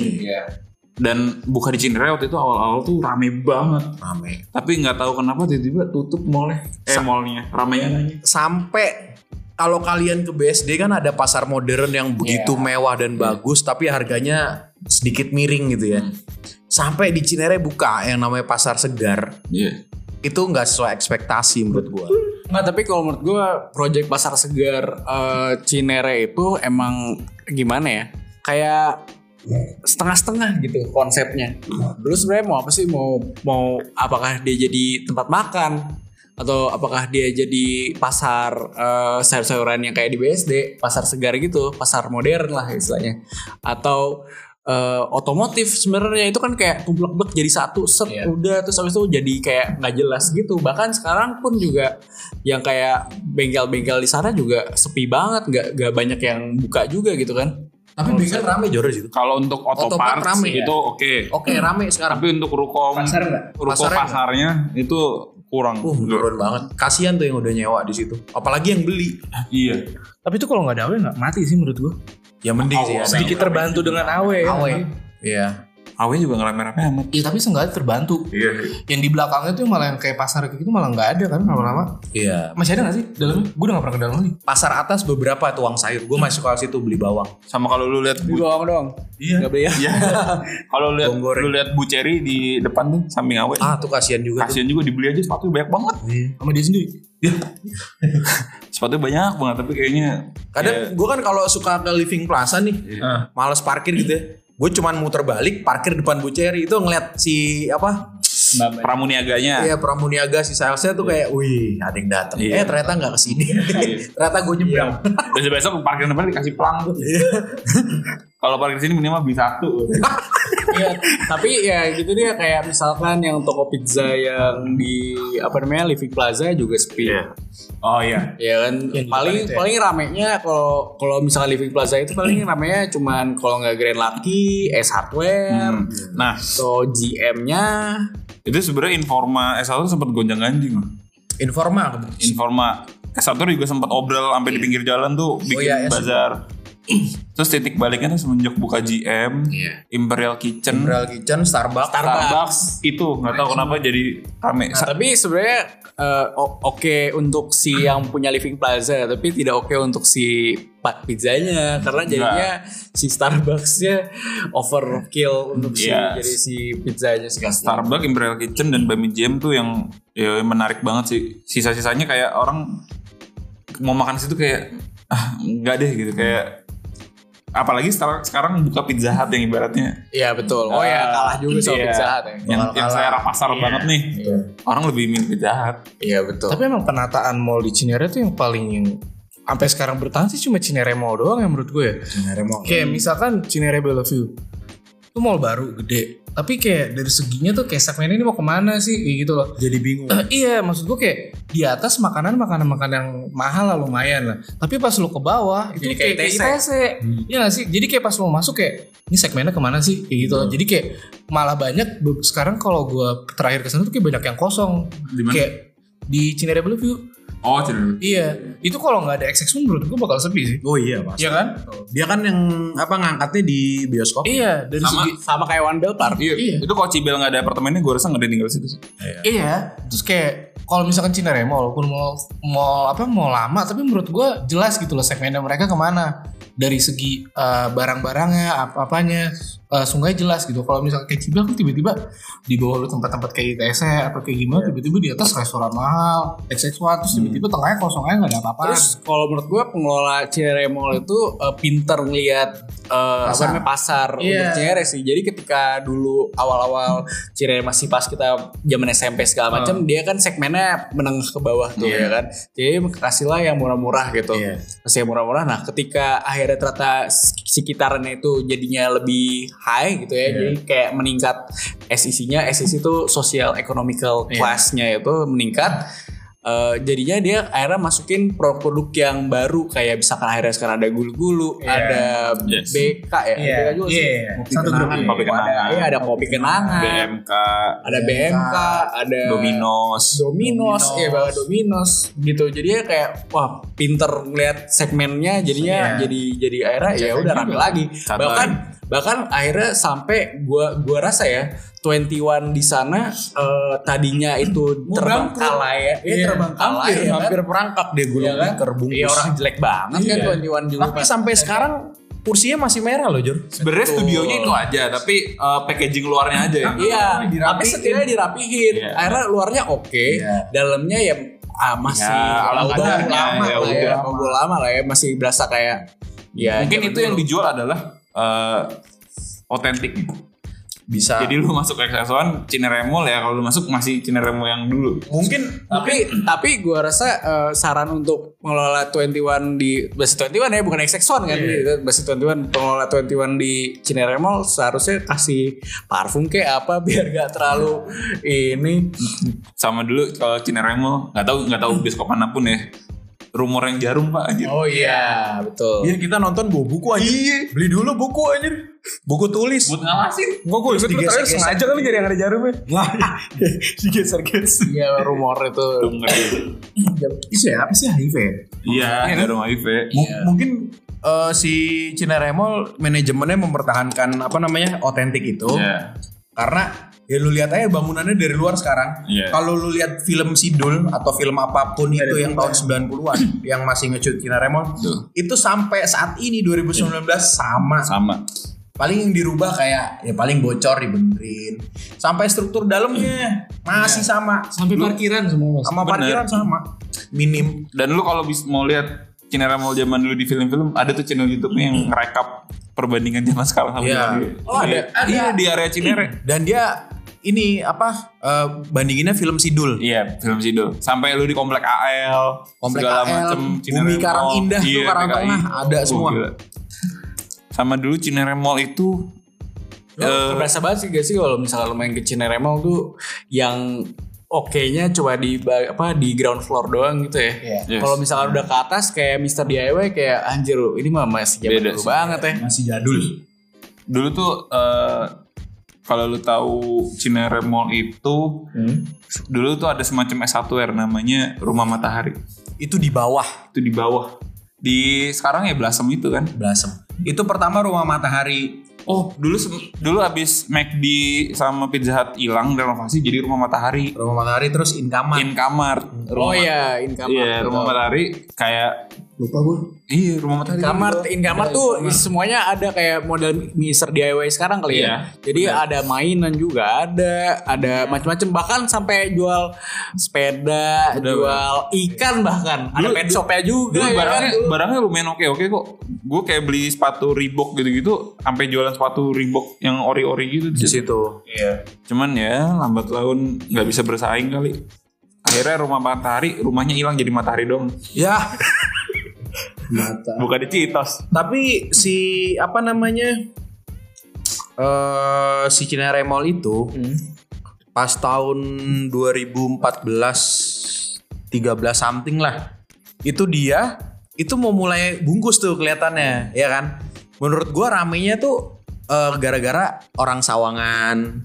Speaker 5: Dan buka di Cinere waktu itu awal-awal tuh rame banget.
Speaker 4: rame.
Speaker 5: Tapi nggak tahu kenapa tiba-tiba tutup mallnya. Eh mallnya, Ramayananya.
Speaker 4: Sampai kalau kalian ke BSD kan ada pasar modern yang begitu
Speaker 2: Iya.
Speaker 4: mewah dan bagus tapi harganya sedikit miring gitu ya.
Speaker 2: Hmm.
Speaker 4: Sampai di Cinere buka yang namanya pasar segar
Speaker 5: Iya.
Speaker 4: itu nggak sesuai ekspektasi menurut gue.
Speaker 2: Nah tapi kalau menurut gue Project Pasar Segar eh, Cinere itu emang gimana ya? Kayak setengah-setengah gitu konsepnya. Dulu sebenarnya mau apa sih? Mau mau apakah dia jadi tempat makan atau apakah dia jadi pasar eh, sayur-sayuran yang kayak di BSD, pasar segar gitu, pasar modern lah istilahnya. Atau eh, otomotif sebenarnya itu kan kayak kublek-blek jadi satu set udah terus habis itu jadi kayak nggak jelas gitu. Bahkan sekarang pun juga yang kayak bengkel-bengkel di sana juga sepi banget, nggak nggak banyak yang buka juga gitu kan.
Speaker 4: Tapi bengkel rame jor Hmm. itu.
Speaker 5: Kalau untuk auto
Speaker 4: Autopart
Speaker 5: parts
Speaker 4: rame,
Speaker 5: itu oke.
Speaker 4: Oke rame sekarang.
Speaker 5: Tapi untuk ruko
Speaker 7: Pasar nggak?
Speaker 5: ruko
Speaker 4: Pasarnya
Speaker 5: pasarnya itu kurang.
Speaker 4: Uh, menurun banget. Kasihan tuh yang udah nyewa di situ. Apalagi yang beli.
Speaker 5: Iya.
Speaker 7: Tapi itu kalau nggak ada awe nggak mati sih menurut gua.
Speaker 4: Ya mending sih.
Speaker 2: Oh,
Speaker 4: ya.
Speaker 7: Sedikit terbantu dengan awe. ya.
Speaker 4: Iya.
Speaker 5: Awalnya juga ngerame-rame amat.
Speaker 6: Iya tapi seenggaknya terbantu.
Speaker 5: Iya.
Speaker 6: Yang di belakangnya tuh malah yang kayak pasar kayak gitu malah nggak ada kan lama-lama.
Speaker 4: Iya.
Speaker 6: Masih ada nggak sih dalamnya? Gue udah nggak pernah ke dalam lagi.
Speaker 4: Pasar atas beberapa tuang sayur. Gue masuk ke situ beli bawang.
Speaker 5: Sama kalau lu lihat Bu-
Speaker 2: doang doang.
Speaker 4: Iya.
Speaker 2: Gak beli ya.
Speaker 5: Iya. kalau lu lihat
Speaker 4: Bawang goreng.
Speaker 5: lu lihat Bu Cherry di depan tuh samping awe.
Speaker 4: Ah tuh kasihan juga tuh.
Speaker 5: Kasian juga dibeli aja sepatu banyak banget.
Speaker 6: Sama dia sendiri.
Speaker 5: Sepatu banyak banget tapi kayaknya
Speaker 4: Kadang gue kan kalau suka ke living plaza nih, males parkir gitu ya. Gue cuman muter balik parkir depan Bu Cherry itu ngeliat si apa?
Speaker 5: pramuniaganya.
Speaker 4: Iya Pramuniaga si salesnya tuh kayak, wih ada yang datang. Eh
Speaker 5: Iya.
Speaker 4: ternyata nggak kesini. ternyata gue nyebrang.
Speaker 5: Besok besok parkir depan dikasih pelang tuh. kalau parkir sini minimal beli satu.
Speaker 2: Iya, tapi ya gitu dia kayak misalkan yang toko pizza yang di apa namanya Living Plaza juga sepi.
Speaker 5: Oh iya.
Speaker 2: Ya kan paling paling ramenya kalau kalau misalkan Living Plaza itu paling ramenya cuman kalau nggak Grand Lucky, S Hardware,
Speaker 5: Nah,
Speaker 2: atau GM-nya.
Speaker 5: itu sebenarnya informa S1 sempat gonjang-ganjing.
Speaker 4: Informal.
Speaker 5: Informa S1 juga sempat obrol sampai di pinggir jalan tuh bikin
Speaker 4: iya, S1.
Speaker 5: bazar. Terus titik baliknya tuh semenjak buka GM,
Speaker 8: Iya.
Speaker 5: Imperial Kitchen,
Speaker 4: Real Kitchen, Starbucks.
Speaker 5: Starbucks itu nggak tahu kenapa jadi rame.
Speaker 2: Nah, tapi sebenarnya eh, o- oke untuk si yang punya Living Plaza, tapi tidak oke untuk si Pak pizzanya karena jadinya si Starbucksnya overkill untuk si
Speaker 5: Yes.
Speaker 2: jadi si pizzanya si custom.
Speaker 5: Starbucks, Imperial Kitchen dan Bami Jam tuh yang ya, menarik banget sih. Sisa-sisanya kayak orang mau makan situ kayak ah enggak deh gitu kayak apalagi sekarang sekarang buka pizza hut yang ibaratnya
Speaker 2: Iya betul. Oh ya kalah juga sama
Speaker 5: Iya.
Speaker 2: Pizza Hut ya.
Speaker 5: yang, yang selera pasar banget nih
Speaker 8: Iya.
Speaker 5: orang lebih milih pizza hut
Speaker 2: Iya betul.
Speaker 6: Tapi emang penataan mall di Cinere tuh yang paling yang sampai sekarang bertahan sih cuma Cinere Mall doang ya menurut gue ya.
Speaker 4: Sebenarnya mau.
Speaker 6: Kayak misalkan Cinere Bellevue. Itu mall baru gede. Tapi kayak dari seginya tuh kayak segmen ini mau kemana sih kayak gitu loh.
Speaker 4: Jadi bingung.
Speaker 6: Eh, iya maksud gue kayak di atas makanan makanan makanan yang mahal lah lumayan lah tapi pas lu ke bawah itu
Speaker 2: Jadi kayak
Speaker 6: kayak, kayak ITC Iya gak sih jadi kayak pas lu masuk kayak ini segmennya kemana sih kayak gitu loh. jadi kayak malah banyak be- sekarang kalau gue terakhir kesana tuh kayak banyak yang kosong
Speaker 5: Di mana?
Speaker 6: kayak di Cinere Bellevue
Speaker 5: oh cerita
Speaker 6: iya itu kalau nggak ada XX pun menurut gue bakal sepi sih
Speaker 4: Oh iya mas.
Speaker 6: Iya kan?
Speaker 4: Dia kan yang apa ngangkatnya di bioskop.
Speaker 6: Iya, dari
Speaker 5: Sama-
Speaker 6: segi
Speaker 2: sama kayak One Bell Park.
Speaker 5: iya,
Speaker 6: Iya.
Speaker 5: itu kalau Cibel nggak ada apartemennya gue rasa nggak ada yang tinggal di situ sih
Speaker 6: Iya, terus kayak kalau misalkan Cinere Mall, walaupun mall, mall apa mall lama, tapi menurut gua jelas gitu loh segmennya mereka kemana dari segi eh, barang-barangnya, apa-apanya, eh, sungai jelas gitu. Kalau misalkan kayak Cibel kan tiba-tiba di bawah lu tempat-tempat kayak ITC atau kayak gimana, tiba-tiba di atas restoran mahal, XX1, terus tiba-tiba tengahnya kosong aja nggak ada apa-apa.
Speaker 2: Terus kalau menurut gue pengelola Cinere Mall itu eh, pinter ngelihat eh, apa
Speaker 6: Pasar.
Speaker 2: namanya pasar untuk
Speaker 6: Iya.
Speaker 2: Cinere sih. Jadi ketika dulu awal-awal Cinere masih pas kita zaman SMP segala macam,
Speaker 6: Ah.
Speaker 2: dia kan segmennya menengah ke bawah tuh
Speaker 6: Iya.
Speaker 2: ya kan. Jadi kasihlah yang murah-murah gitu.
Speaker 4: Iya.
Speaker 2: Kasih yang murah-murah. Nah, ketika akhirnya ternyata sekitarannya itu jadinya lebih high gitu ya. Jadi kayak meningkat E SEC-nya, SEC itu social economical class-nya itu meningkat. Eh, jadinya dia akhirnya masukin produk-produk yang baru kayak misalkan akhirnya sekarang ada gulu-gulu, ada
Speaker 5: Yes.
Speaker 2: BK ya,
Speaker 6: Iya.
Speaker 2: BK juga sih.
Speaker 6: Iya.
Speaker 5: kopi
Speaker 6: Satu
Speaker 5: kenangan
Speaker 6: grup.
Speaker 5: kopi
Speaker 2: Ada,
Speaker 5: kenangan
Speaker 2: iya, ada kopi
Speaker 5: Ah.
Speaker 2: kenangan,
Speaker 5: BMK
Speaker 2: ada BMK, ada
Speaker 5: Iya. Dominos
Speaker 2: Dominos, ya bawa Dominos gitu. Jadi ya kayak wah pinter ngeliat segmennya, jadinya jadi jadi akhirnya ya udah rame lagi.
Speaker 5: Santai.
Speaker 2: Bahkan bahkan akhirnya sampai gua gua rasa ya 21 di sana eh, tadinya itu terbang kalah ya, Iya, terbang kalah
Speaker 4: hampir,
Speaker 2: ya kan?
Speaker 4: hampir perangkap dia gulung
Speaker 2: Iya kan?
Speaker 4: tikar bungkus.
Speaker 2: Iya orang jelek banget kan 21 juga.
Speaker 4: Tapi sampai sekarang kursinya masih merah loh Jor.
Speaker 5: sebenarnya studionya itu aja tapi eh, packaging luarnya aja ya
Speaker 2: Iya, tapi setidaknya dirapihin.
Speaker 5: Iya.
Speaker 2: Akhirnya luarnya oke, dalamnya ya ah, masih
Speaker 5: Ya, ala
Speaker 2: bau bau
Speaker 5: kadarnya,
Speaker 2: lama
Speaker 5: ya
Speaker 2: lah ya,
Speaker 5: udah.
Speaker 2: bau bau lama lah ya, masih berasa kayak ya
Speaker 5: mungkin
Speaker 2: zaman
Speaker 5: itu yang
Speaker 2: dulu.
Speaker 5: dijual adalah eh, otentik
Speaker 4: Bisa.
Speaker 5: jadi lu masuk XS1 Cinere Mall ya kalau lu masuk masih Cinere Mall yang dulu
Speaker 4: mungkin
Speaker 2: tapi tapi gua rasa eh, saran untuk mengelola 21 di Basi 21 ya bukan XX1 kan
Speaker 5: Iya.
Speaker 2: itu Basi 21 pengelola 21 di Cinere Mall seharusnya kasih parfum kayak apa biar gak terlalu ini
Speaker 5: sama dulu kalau Cinere Mall nggak tahu nggak tahu bioskop manapun ya rumor yang jarum pak anjir
Speaker 2: oh iya betul
Speaker 4: Iya kita nonton bawa buku aja. Beli dulu buku anjir. Iya. Buku tulis.
Speaker 5: buat ngawasin
Speaker 6: Enggak gue ikut lu terakhir
Speaker 4: digeser-geser.
Speaker 6: sengaja kali nyari yang ada jarumnya.
Speaker 4: Wah, digeser-geser.
Speaker 2: iya rumor itu
Speaker 5: denger
Speaker 4: Siapa ya, sih HIV?
Speaker 5: iya jarum HIV
Speaker 4: M- Mungkin eh, si Cinere Mall manajemennya mempertahankan apa namanya otentik itu
Speaker 5: Iya.
Speaker 4: karena ya lu lihat aja bangunannya dari luar sekarang.
Speaker 5: Iya.
Speaker 4: Kalau lu lihat film Sidul atau film ya. apapun itu yang tahun 90-an yang masih ngecut Cinere Mall
Speaker 5: Betul.
Speaker 4: itu sampai saat ini 2019 sama.
Speaker 5: sama
Speaker 4: Paling yang dirubah kayak ya paling bocor dibenerin. Sampai struktur dalamnya masih sama.
Speaker 6: Sampai parkiran semua mas.
Speaker 4: Sama
Speaker 5: Iya. Bener.
Speaker 4: parkiran sama. Minim
Speaker 5: dan lu kalau bis mau lihat Cinere Mall zaman dulu di film-film ada tuh channel YouTube yang rekap perbandingan zaman sekarang sama
Speaker 4: Iya.
Speaker 5: dulu.
Speaker 2: Oh, ada.
Speaker 5: Iya, Iya di area Cinere.
Speaker 4: dan dia ini apa eh, bandinginnya film Sidul
Speaker 5: Iya, film Sido. Sampai lu di komplek AL,
Speaker 4: komplek AL,
Speaker 5: segala macem Cinere
Speaker 4: Bumi Karang
Speaker 5: Mall.
Speaker 4: Indah tuh
Speaker 5: Iya,
Speaker 4: Karang
Speaker 5: PKI.
Speaker 4: Tengah ada
Speaker 5: Wah,
Speaker 4: semua
Speaker 5: gila. Sama dulu Cinere Mall itu eh,
Speaker 2: berasa banget sih gak sih kalau misalnya lu main ke Cinere Mall tuh yang oke-nya cuma di ba- apa di ground floor doang gitu ya.
Speaker 5: Yes.
Speaker 2: Kalau misalnya udah ke atas kayak Mr. DIY kayak anjir lu, ini mah masih zaman
Speaker 5: Beda
Speaker 2: dulu
Speaker 5: sih.
Speaker 2: banget ya.
Speaker 4: masih jadul
Speaker 5: dulu tuh eh, kalau lu tahu Cinere Mall itu
Speaker 4: Hmm.
Speaker 5: dulu tuh ada semacam S1R namanya Rumah Matahari.
Speaker 4: itu di bawah
Speaker 5: Itu di bawah. di sekarang ya Blasem itu kan.
Speaker 4: Blasem. Itu pertama rumah matahari.
Speaker 5: Oh, dulu se- dulu abis McD sama Pizza Hut hilang renovasi jadi rumah matahari.
Speaker 4: Rumah matahari terus Inkaman.
Speaker 5: In kamar.
Speaker 2: Oh iya, Inkamart.
Speaker 5: Iya, rumah matahari kayak
Speaker 3: Lupa gue.
Speaker 5: iya rumah matahari.
Speaker 2: Inkamart, Inkamart tuh semuanya ada kayak model mixer DIY sekarang kali
Speaker 5: Iya,
Speaker 2: ya. Jadi ada mainan juga ada, ada macam-macam bahkan sampai jual sepeda, jual ikan bahkan. Ada
Speaker 5: Dulu-
Speaker 2: pet shopnya juga
Speaker 5: Dulu
Speaker 2: ya
Speaker 5: barangnya
Speaker 2: kan?
Speaker 5: barangnya lumayan oke oke kok. Gue kayak beli sepatu Reebok gitu-gitu, sampai jualan sepatu Reebok yang ori-ori gitu di
Speaker 4: Di
Speaker 5: situ.
Speaker 4: situ.
Speaker 5: Cuman ya lambat laun nggak bisa bersaing kali. Akhirnya rumah matahari, rumahnya hilang jadi matahari dong.
Speaker 4: Ya,
Speaker 5: Bukan di Citos.
Speaker 4: Tapi si apa namanya? eh si Cinere Mall itu pas tahun 2014 13 something lah. Itu dia itu mau mulai bungkus tuh kelihatannya, ya kan? Menurut gua ramenya tuh eh, gara-gara orang Sawangan,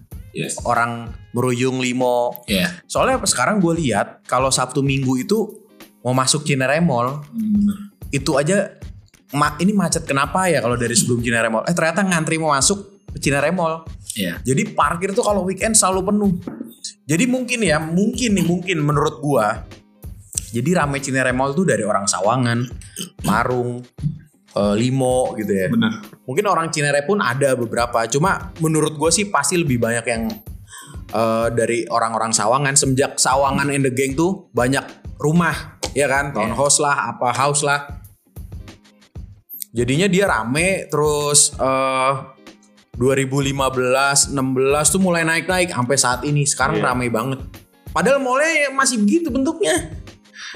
Speaker 4: orang Meruyung Limo.
Speaker 3: Iya.
Speaker 4: Soalnya sekarang gue lihat kalau Sabtu Minggu itu mau masuk Cinere Mall, itu aja ma- ini macet kenapa ya kalau dari sebelum Cinere Mall? Eh ternyata ngantri mau masuk ke Cinere Mall.
Speaker 3: Iya.
Speaker 4: Jadi parkir tuh kalau weekend selalu penuh. Jadi mungkin ya, mungkin nih mungkin menurut gua. Jadi rame Cinere Mall tuh dari orang Sawangan, Marung, eh, Limo gitu ya.
Speaker 5: Bener.
Speaker 4: Mungkin orang Cinere pun ada beberapa. Cuma menurut gua sih pasti lebih banyak yang eh, dari orang-orang Sawangan. Semenjak Sawangan and the Gang tuh banyak rumah, ya kan? Townhouse lah, apa house lah jadinya dia rame terus eh 2015 16 tuh mulai naik-naik sampai saat ini sekarang rame banget padahal mallnya masih begitu bentuknya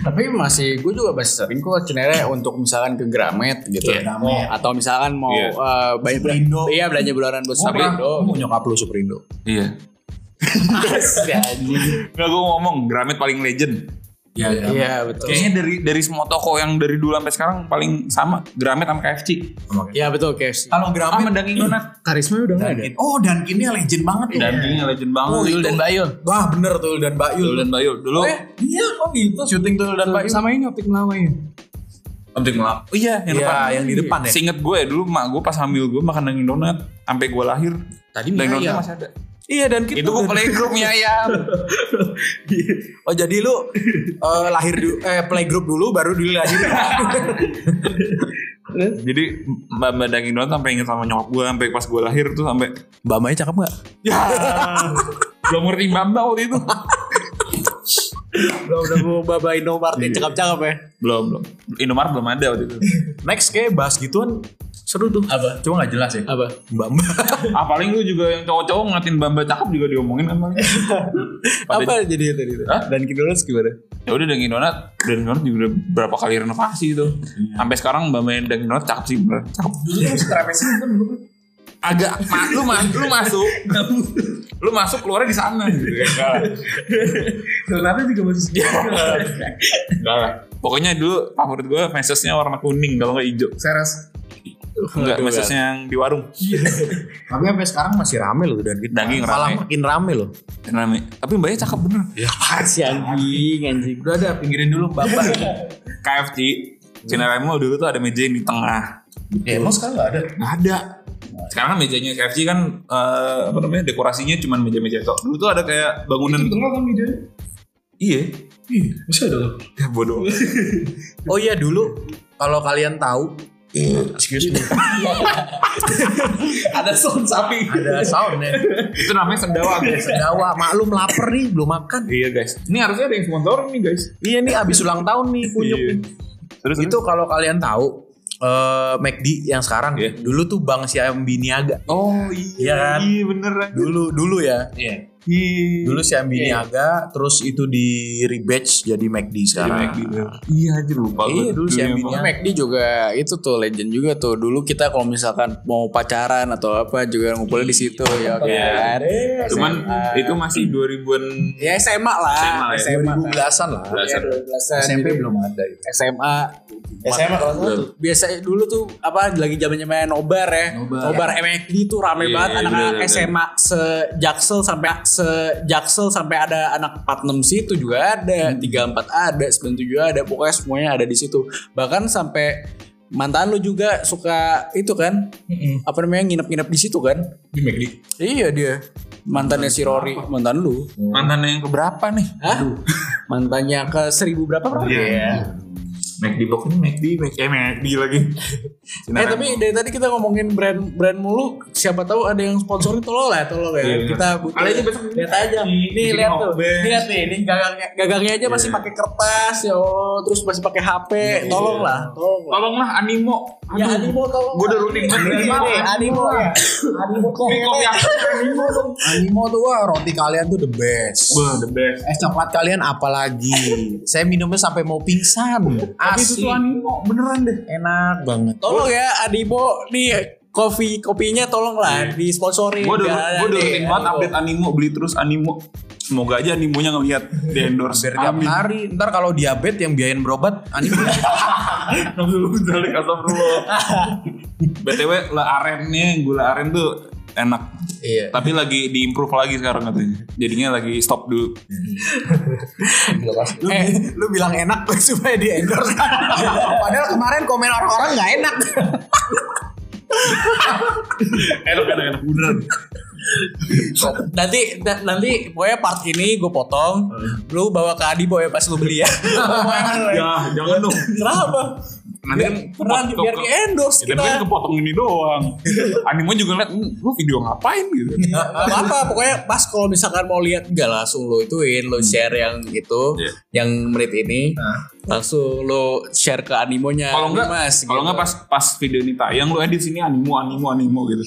Speaker 2: Tapi masih gue juga masih sering kok Cinere untuk misalkan ke Gramet gitu.
Speaker 3: Gramet.
Speaker 2: Atau misalkan mau
Speaker 5: Iya.
Speaker 2: eh, banyak
Speaker 4: Superindo.
Speaker 2: Iya, belanja bulanan buat
Speaker 4: Oh,
Speaker 2: Superindo.
Speaker 4: Superindo mau nyokap lu Superindo
Speaker 5: Iya. Nggak gue ngomong, Gramet paling legend.
Speaker 3: Iya.
Speaker 2: Iya, betul.
Speaker 5: Kayaknya dari dari semua toko yang dari dulu sampai sekarang paling sama Gramet sama KFC.
Speaker 2: Iya, betul KFC.
Speaker 4: kalau Gramet
Speaker 5: Sama Dunkin Donat.
Speaker 3: Ah, Karisma udah nggak ada.
Speaker 4: Dunkin. oh Dunkinnya legend banget tuh
Speaker 5: Dunkinnya legend banget.
Speaker 4: Oh, itu.
Speaker 2: Bayul.
Speaker 4: wah bener tuh dan Mbak Yul
Speaker 5: Dulu dan Bayul. Dulu
Speaker 4: iya kok gitu syuting tuh dan Mbak Yul
Speaker 3: Sama ini optik lama ya.
Speaker 5: penting ngelap. Oh iya, yang
Speaker 4: Iya,
Speaker 5: depan.
Speaker 4: yang di depan ya.
Speaker 5: Seinget gue dulu mak gue pas hamil gue makan Dunkin Donat sampai gue lahir.
Speaker 4: tadi mie
Speaker 5: Dunkin Donat
Speaker 4: ayam
Speaker 5: masih ada.
Speaker 4: iya dan
Speaker 5: Itu ya. gue playgroup mie ayam.
Speaker 4: oh jadi lu eh, lahir du- eh playgroup dulu baru dilahirin
Speaker 5: Jadi Mbak Mbak Dunkin Donat sampai inget sama nyokap gue sampai pas gue lahir tuh sampai
Speaker 4: Mbak Maya cakep gak?
Speaker 5: ya. Belum ngerti Mbak Mbak waktu itu.
Speaker 2: Udah mau babain nomor
Speaker 4: Iya.
Speaker 2: cakep-cakep ya.
Speaker 5: belum, belum. Indomaret belum ada waktu itu.
Speaker 4: Next kayak bahas gituan seru tuh. Apa? Cuma nggak jelas ya.
Speaker 2: Apa?
Speaker 4: Mbak Mbak.
Speaker 5: ah paling lu juga yang cowok-cowok ngatin Mbak Mbak cakep juga diomongin kan paling. Pada-
Speaker 2: Apa jadi tadi?
Speaker 5: Hah?
Speaker 2: Dan Kidulus gimana?
Speaker 5: ya udah Dunkin Donat Dunkin Donat juga udah berapa kali renovasi itu sampai sekarang mbak main Dunkin Donat cakep sih bener cakep
Speaker 3: kan?
Speaker 5: agak ma- lu, ma- lu masuk lu masuk keluarnya di sana gitu kan Enggak lah.
Speaker 3: Donatnya juga masih sedih.
Speaker 5: Iya. Enggak lah. pokoknya dulu favorit gue mesesnya warna kuning kalau nggak hijau
Speaker 3: Seres.
Speaker 5: enggak mesesnya yang di warung
Speaker 4: Tapi sampai sekarang masih rame loh dan kita
Speaker 5: Daging rame.
Speaker 4: malah makin rame loh.
Speaker 5: Dan rame. tapi mbaknya cakep bener
Speaker 2: Si anjing, anjing.
Speaker 4: Udah ada pinggirin dulu Mbak Mbak.
Speaker 5: KFC Cinere Mall dulu tuh ada meja yang di tengah
Speaker 3: Ya emang sekarang nggak ada.
Speaker 5: nggak ada sekarang kan mejanya KFC kan eh, apa namanya dekorasinya cuman meja-meja tok dulu tuh ada kayak bangunan
Speaker 3: Tengah kan videonya.
Speaker 5: iya
Speaker 3: Ih, masih ada loh.
Speaker 5: ya bodoh
Speaker 4: Oh iya dulu kalau kalian tahu excuse me.
Speaker 2: ya.
Speaker 3: Ada sound sapi.
Speaker 4: ada sound ya.
Speaker 5: itu namanya sendawa guys
Speaker 4: Sendawa maklum lapar nih belum makan.
Speaker 5: iya guys ini harusnya ada yang sponsor nih guys
Speaker 4: Iya nih abis ulang tahun nih kunyuk
Speaker 5: Iya.
Speaker 4: nih.
Speaker 5: terus
Speaker 4: Itu kalau kalian tahu eh McD yang sekarang
Speaker 5: Iya.
Speaker 4: dulu tuh Bang Siam Biniaga.
Speaker 5: oh iya
Speaker 4: Iya kan?
Speaker 5: iya bener
Speaker 4: Dulu dulu ya.
Speaker 5: iya
Speaker 4: Dulu si Ambiniaga, terus itu di rebadge jadi McD
Speaker 5: Jadi
Speaker 4: sekarang.
Speaker 5: McD bener. iya aja lupa
Speaker 4: Iya, dulu si Ambini.
Speaker 5: apa.
Speaker 2: McD juga itu tuh legend juga tuh. Dulu kita kalau misalkan mau pacaran atau apa juga ngumpulin di situ ya oke.
Speaker 5: Iya.
Speaker 2: kan?
Speaker 5: cuman
Speaker 2: SMA.
Speaker 5: itu masih 2000-an
Speaker 2: ya SMA lah.
Speaker 5: SMA ya.
Speaker 2: SMA.
Speaker 4: 2010-an lah.
Speaker 2: Iya,
Speaker 5: belasan.
Speaker 2: 12-an.
Speaker 4: SMP
Speaker 2: Jadi
Speaker 4: belum ada.
Speaker 2: SMA
Speaker 7: SMA kelas satu.
Speaker 2: biasa dulu tuh apa lagi zamannya main nobar ya
Speaker 4: Nobar.
Speaker 2: nobar MFD tuh rame
Speaker 5: Iya,
Speaker 2: banget
Speaker 5: iya,
Speaker 2: anak-anak
Speaker 5: bener, bener.
Speaker 2: SMA sejaksel sampai sejaksel sampai ada anak 46 situ juga
Speaker 5: Hmm.
Speaker 2: ada 34 ada 97 ada pokoknya semuanya ada di situ bahkan sampai mantan lu juga suka itu kan apa namanya nginep-nginep di situ kan
Speaker 6: di McD.
Speaker 2: iya dia mantannya si Rory mantan lu
Speaker 5: Mantan yang keberapa nih? Iya.
Speaker 2: Hah? mantannya ke seribu berapa Eh. Rory?
Speaker 6: Iya.
Speaker 7: Iya.
Speaker 5: Mac di box ini Mac di Mac eh Mac di lagi.
Speaker 2: Eh tapi dari tadi kita ngomongin brand brand mulu, siapa tahu ada yang sponsorin tolol lah, tolol ya.
Speaker 5: Iya, bener.
Speaker 2: kita butuh.
Speaker 5: Kali ini besok
Speaker 2: lihat aja. Nih
Speaker 5: di- bikin
Speaker 2: lihat tuh.
Speaker 5: obeng.
Speaker 2: Lihat nih, ini gagangnya, gagangnya aja masih pakai kertas, ya Allah, terus masih pakai HP. Tolong lah, tolong lah.
Speaker 5: Tolonglah animo.
Speaker 2: Ya Iya, animo tolong.
Speaker 5: Gue udah running banget dari
Speaker 2: Animo,
Speaker 5: mana?
Speaker 2: animo ya. Animo kok.
Speaker 5: Ini kopi aku animo dong.
Speaker 4: Animo tuh wah roti kalian tuh the best.
Speaker 5: Wah, the best.
Speaker 4: Es coklat kalian apalagi. Saya minumnya sampai mau pingsan.
Speaker 5: Tapi itu tuh animo beneran deh.
Speaker 4: Enak banget.
Speaker 2: Tolong ya animo nih kopi kopinya tolong lah
Speaker 4: Iya.
Speaker 2: disponsorin. Iya.
Speaker 5: Gue udah
Speaker 2: Jangan
Speaker 5: gue udah
Speaker 2: nanti
Speaker 5: rutin banget
Speaker 2: Animo.
Speaker 5: update animo beli terus animo. Semoga aja animonya ngelihat di endorse
Speaker 4: Tiap hari ntar kalau diabetes yang biayain berobat animo.
Speaker 5: Jalik atau perlu. BTW le arennya gula aren tuh enak.
Speaker 4: Iya.
Speaker 5: Tapi lagi diimprove lagi sekarang katanya. Jadinya lagi stop dulu.
Speaker 4: Lu, lu bilang enak supaya di endorse kan. Padahal kemarin komen orang-orang nggak enak.
Speaker 5: Enak enak enak beneran.
Speaker 2: nanti na- nanti pokoknya part ini gue potong lu bawa ke Adi boy pas lu beli ya
Speaker 5: Ya, jangan dong.
Speaker 2: kenapa
Speaker 5: Nanti kan
Speaker 2: Pernah
Speaker 5: kepot-
Speaker 2: biar
Speaker 5: ke-
Speaker 2: di endorse
Speaker 5: Ya,
Speaker 2: kita
Speaker 5: tapi kan kepotong ini doang. Animo juga ngeliat, "Hmm, lu video ngapain gitu.
Speaker 2: Gak apa-apa pokoknya pas kalau misalkan mau lihat gak langsung lu ituin lu share yang itu
Speaker 5: Iya.
Speaker 2: yang menit ini langsung lu share ke animonya
Speaker 5: Kalau enggak,
Speaker 2: Mas, gitu.
Speaker 5: kalau enggak pas pas video ini tayang lu edit sini animo, animo, animo gitu.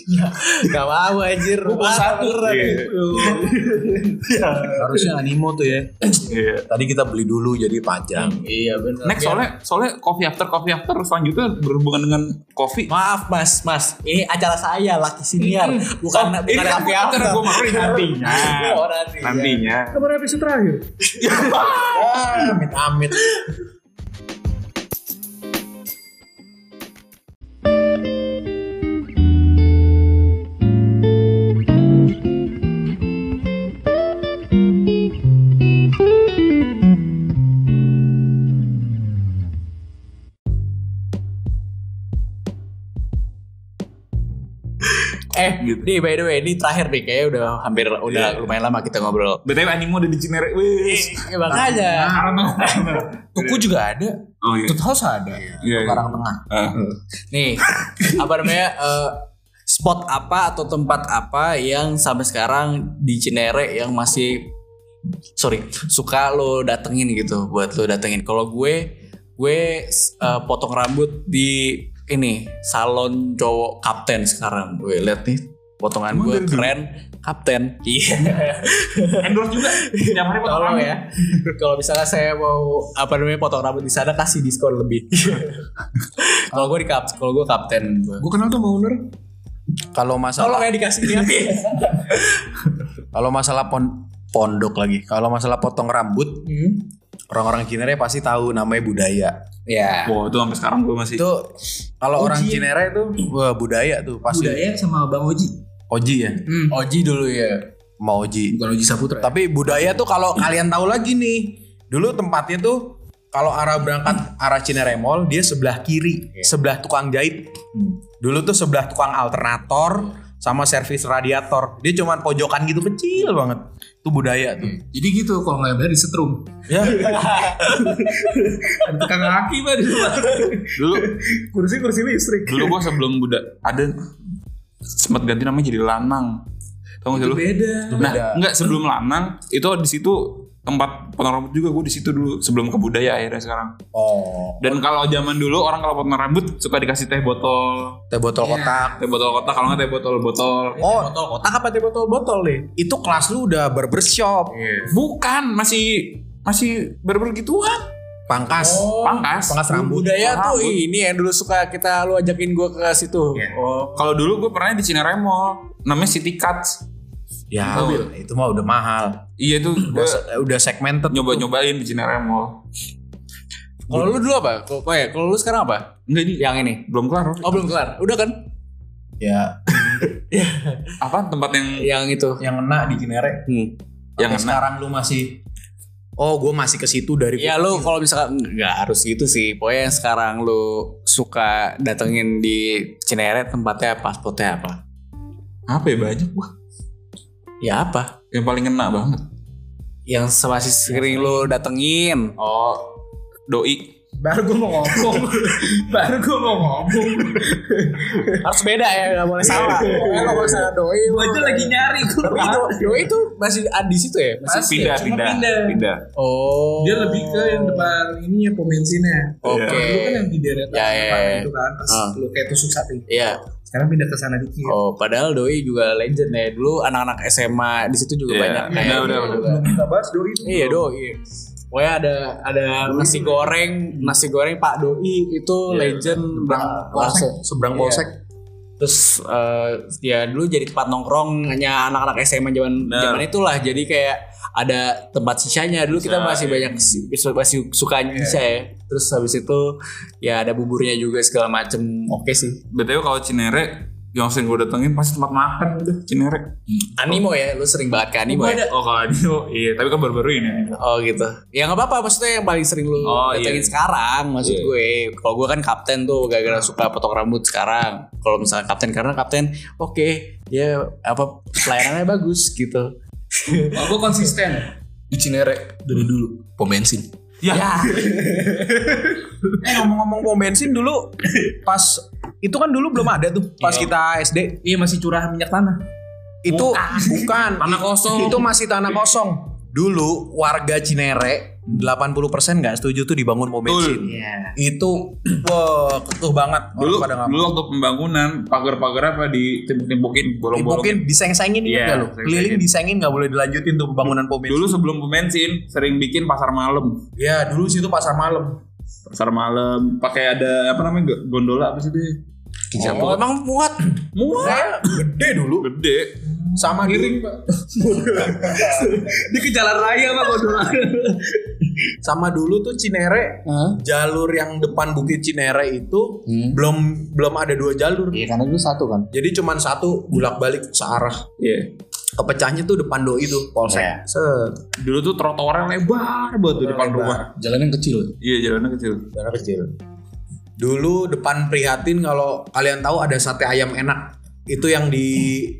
Speaker 2: gak mau anjir Wah, beneran.
Speaker 4: Harusnya animo tuh ya.
Speaker 5: Iya.
Speaker 4: Tadi kita beli dulu jadi panjang.
Speaker 2: iya bener
Speaker 5: Next soalnya soalnya coffee after coffee after selanjutnya berhubungan dengan coffee.
Speaker 2: maaf mas mas ini acara saya laki senior bukan bukan
Speaker 5: ini
Speaker 4: Iya.
Speaker 2: happy
Speaker 5: after
Speaker 2: hour.
Speaker 5: gue maruin nantinya.
Speaker 4: Nah,
Speaker 2: Oh, nanti, ya.
Speaker 5: Nantinya.
Speaker 4: Amit amit.
Speaker 2: Eh, nih by the way, ini terakhir nih kayaknya udah hampir udah lumayan lama kita ngobrol.
Speaker 5: BTW animo udah di Cinere. Wis.
Speaker 2: Eh, makanya.
Speaker 4: Tuku juga ada.
Speaker 5: Oh iya.
Speaker 4: Tut house ada.
Speaker 5: Iya, iya.
Speaker 4: Karang tengah.
Speaker 5: Ah.
Speaker 2: Nih, apa namanya? eh, spot apa atau tempat apa yang sampai sekarang di Cinere yang masih sorry suka lo datengin gitu buat lo datengin. Kalau gue, gue eh, potong rambut di ini salon cowok kapten sekarang. Gue lihat nih potongan gue keren kapten. Iya.
Speaker 5: Endorse juga. Tiap hari potong
Speaker 2: Tolong
Speaker 5: rambut.
Speaker 2: ya. Kalau misalnya saya mau apa namanya potong rambut di sana kasih diskon lebih. kalau gue di kap, kalau gue kapten.
Speaker 4: Gue
Speaker 5: kan
Speaker 4: kenal tuh mau owner. Kalau
Speaker 2: Tolong
Speaker 4: masalah
Speaker 2: ya dikasih lihat.
Speaker 4: kalau masalah pon- pondok lagi. Kalau masalah potong rambut,
Speaker 2: Hmm.
Speaker 4: orang-orang Cinere pasti tahu namanya budaya.
Speaker 2: ya.
Speaker 4: Iya.
Speaker 5: Wah, itu sampai sekarang gue masih
Speaker 4: Itu kalau orang Cinere itu wah, budaya tuh pasti.
Speaker 2: sama Bang Oji.
Speaker 4: Oji iya. ya,
Speaker 2: Oji dulu ya.
Speaker 4: mau Oji.
Speaker 2: Bukan Oji Saputra.
Speaker 4: Tapi budaya tuh kalau kalian tahu lagi nih, dulu tempatnya tuh kalau arah berangkat arah Cinere Mall dia sebelah kiri, sebelah tukang jahit. Dulu tuh sebelah tukang alternator sama servis radiator. Dia cuman pojokan gitu kecil banget. Itu budaya tuh.
Speaker 6: Jadi gitu kalau nggak bayar disetrum.
Speaker 7: Iya.
Speaker 4: Ya.
Speaker 6: Ada tukang kaki mah di rumah.
Speaker 5: dulu
Speaker 6: Kursi kursi listrik.
Speaker 5: dulu gue sebelum budak ada sempat ganti namanya jadi lanang tau gak sih lu
Speaker 6: Beda.
Speaker 4: Iya.
Speaker 5: nah enggak sebelum lanang itu di situ tempat potong rambut juga gue di situ dulu sebelum ke budaya akhirnya sekarang
Speaker 4: Oh,
Speaker 5: dan kalau zaman dulu orang kalau potong rambut suka dikasih teh botol
Speaker 4: teh botol kotak.
Speaker 5: teh botol kotak kalau nggak teh botol botol
Speaker 4: Oh, botol kotak apa teh botol botol nih? Itu kelas lu udah barbershop,
Speaker 5: bukan masih masih gitu. berber gituan
Speaker 4: pangkas.
Speaker 5: Oh. pangkas
Speaker 4: Oh,
Speaker 5: iya.
Speaker 4: Pangkas rambut.
Speaker 2: budaya tuh
Speaker 5: Rambut.
Speaker 2: ini yang dulu suka kita lu ajakin gue ke situ.
Speaker 5: Iya.
Speaker 2: Oh.
Speaker 5: kalau dulu gue pernah di Cinere Mall namanya City Cuts
Speaker 4: Ya,
Speaker 5: Mobil.
Speaker 4: itu mah udah mahal.
Speaker 5: iya itu
Speaker 4: Udah,
Speaker 5: gue
Speaker 4: se- udah segmented.
Speaker 5: nyoba nyobain di Cinere Mall
Speaker 2: Kalau lu dulu apa? Kalau oh ya, kalau lu sekarang apa?
Speaker 5: Enggak ini
Speaker 2: Yang ini.
Speaker 5: belum kelar.
Speaker 2: Oh belum kelar. Udah kan?
Speaker 4: Ya,
Speaker 5: Apa tempat yang
Speaker 4: Iya,
Speaker 2: Yang itu.
Speaker 4: yang enak di Cinere.
Speaker 2: Hmm.
Speaker 5: yang
Speaker 4: Yang
Speaker 5: enak?
Speaker 4: sekarang lu masih Oh, gue masih ke situ dari
Speaker 2: Ya lu kalau misalkan nggak harus gitu sih. Pokoknya yang sekarang lu suka datengin di Cinere tempatnya apa, spotnya apa?
Speaker 5: Apa ya banyak wah.
Speaker 2: Ya apa?
Speaker 5: Yang paling enak banget.
Speaker 2: Yang masih sering lu datengin.
Speaker 5: Oh, doi.
Speaker 7: Baru gue mau ngomong. Baru gue mau ngomong. Harus beda ya, gak boleh salah.
Speaker 2: Iya.
Speaker 7: Pokoknya gak boleh salah doi. Gue aja lagi nyari. Tapi doi, doi itu masih ada di situ ya? Masih
Speaker 5: Pindah,
Speaker 7: cuma
Speaker 5: pindah,
Speaker 7: pindah.
Speaker 5: pindah.
Speaker 2: Oh.
Speaker 6: Dia lebih ke yang depan ini ya pom bensinnya.
Speaker 7: Iya.
Speaker 2: Oke.
Speaker 6: Kalau Dulu kan yang di daerah
Speaker 2: Ya, ya,
Speaker 6: depan
Speaker 2: ya.
Speaker 6: itu kan pas
Speaker 2: Ah.
Speaker 6: lu kayak tusuk sate.
Speaker 2: Iya.
Speaker 6: Sekarang pindah ke sana dikit.
Speaker 2: Oh, padahal doi juga legend ya. Dulu anak-anak SMA di situ juga
Speaker 5: Iya.
Speaker 2: banyak kayak.
Speaker 5: Udah, udah,
Speaker 2: gitu.
Speaker 6: Kita bahas doi itu.
Speaker 2: Iya, doi. Pokoknya ada ada nasi
Speaker 6: Hmm.
Speaker 2: goreng, nasi goreng Pak Doi itu
Speaker 5: Iya.
Speaker 2: legend langsung.
Speaker 4: seberang
Speaker 2: Iya.
Speaker 4: polsek.
Speaker 2: Terus eh, ya dulu jadi tempat nongkrongnya anak-anak SMA zaman
Speaker 5: Benar.
Speaker 2: zaman itulah. Jadi kayak ada tempat sisanya dulu kita
Speaker 5: Sisa,
Speaker 2: masih
Speaker 5: iya.
Speaker 2: banyak si- masih suka
Speaker 6: Iya.
Speaker 2: sisa ya. Terus habis itu ya ada buburnya juga segala macem. Oke sih.
Speaker 5: BTW kalau Cinere yang sering gue datengin pasti tempat makan udah Cinere.
Speaker 2: Animo ya, lu sering banget ke animo ya.
Speaker 5: Oh kalau Adio, iya. Tapi kan baru-baru ini.
Speaker 2: Oh gitu. Ya nggak apa-apa, maksudnya yang paling sering lu
Speaker 5: Oh,
Speaker 2: datengin
Speaker 5: iya.
Speaker 2: sekarang maksud
Speaker 5: Iya.
Speaker 2: gue. Kalau gue kan kapten tuh gara-gara suka potong rambut sekarang. Kalau misalnya kapten karena kapten oke, dia apa pelayanannya bagus gitu.
Speaker 6: Gue konsisten.
Speaker 7: Di Cinere dari
Speaker 2: Hmm.
Speaker 7: dulu pom bensin.
Speaker 5: Ya.
Speaker 4: Eh ngomong-ngomong pom bensin dulu pas itu kan dulu belum ada tuh pas kita SD
Speaker 6: Iya masih curah minyak tanah.
Speaker 4: itu bukan tanah kosong itu masih tanah kosong dulu warga Cinere 80% nggak setuju tuh dibangun pom bensin
Speaker 6: Iya.
Speaker 4: itu wah ketuh banget orang
Speaker 5: Dulu,
Speaker 4: pada nggak
Speaker 5: dulu waktu pembangunan pagar-pagar apa ditimpuk-timpukin bolong-bolongin.
Speaker 4: mungkin diseng-sengin
Speaker 5: Iya,
Speaker 4: ya lu
Speaker 5: diseng-sengin.
Speaker 4: keliling disengin nggak boleh dilanjutin tuh pembangunan pom bensin
Speaker 5: Dulu sebelum pom bensin sering bikin pasar malam.
Speaker 4: ya dulu situ pasar malam
Speaker 5: Pasar malam pakai ada apa namanya go- gondola apa sih deh?
Speaker 2: Oh, emang muat.
Speaker 5: Muat. Gede dulu. Gede.
Speaker 4: sama giring
Speaker 6: Di ke jalan raya pak gue
Speaker 4: sama dulu tuh Cinere jalur yang depan Bukit Cinere itu belum belum ada dua jalur
Speaker 7: Hmm. Iya karena dulu satu kan.
Speaker 4: jadi cuman satu bulak balik searah
Speaker 5: Iya.
Speaker 4: kepecahnya tuh depan doi itu polsek Set.
Speaker 5: Dulu tuh trotoarnya lebar banget tuh depan rumah.
Speaker 7: Jalan yang kecil.
Speaker 5: Iya jalannya kecil.
Speaker 4: Daerah kecil. Dulu depan prihatin kalau kalian tahu ada sate ayam enak. Itu yang di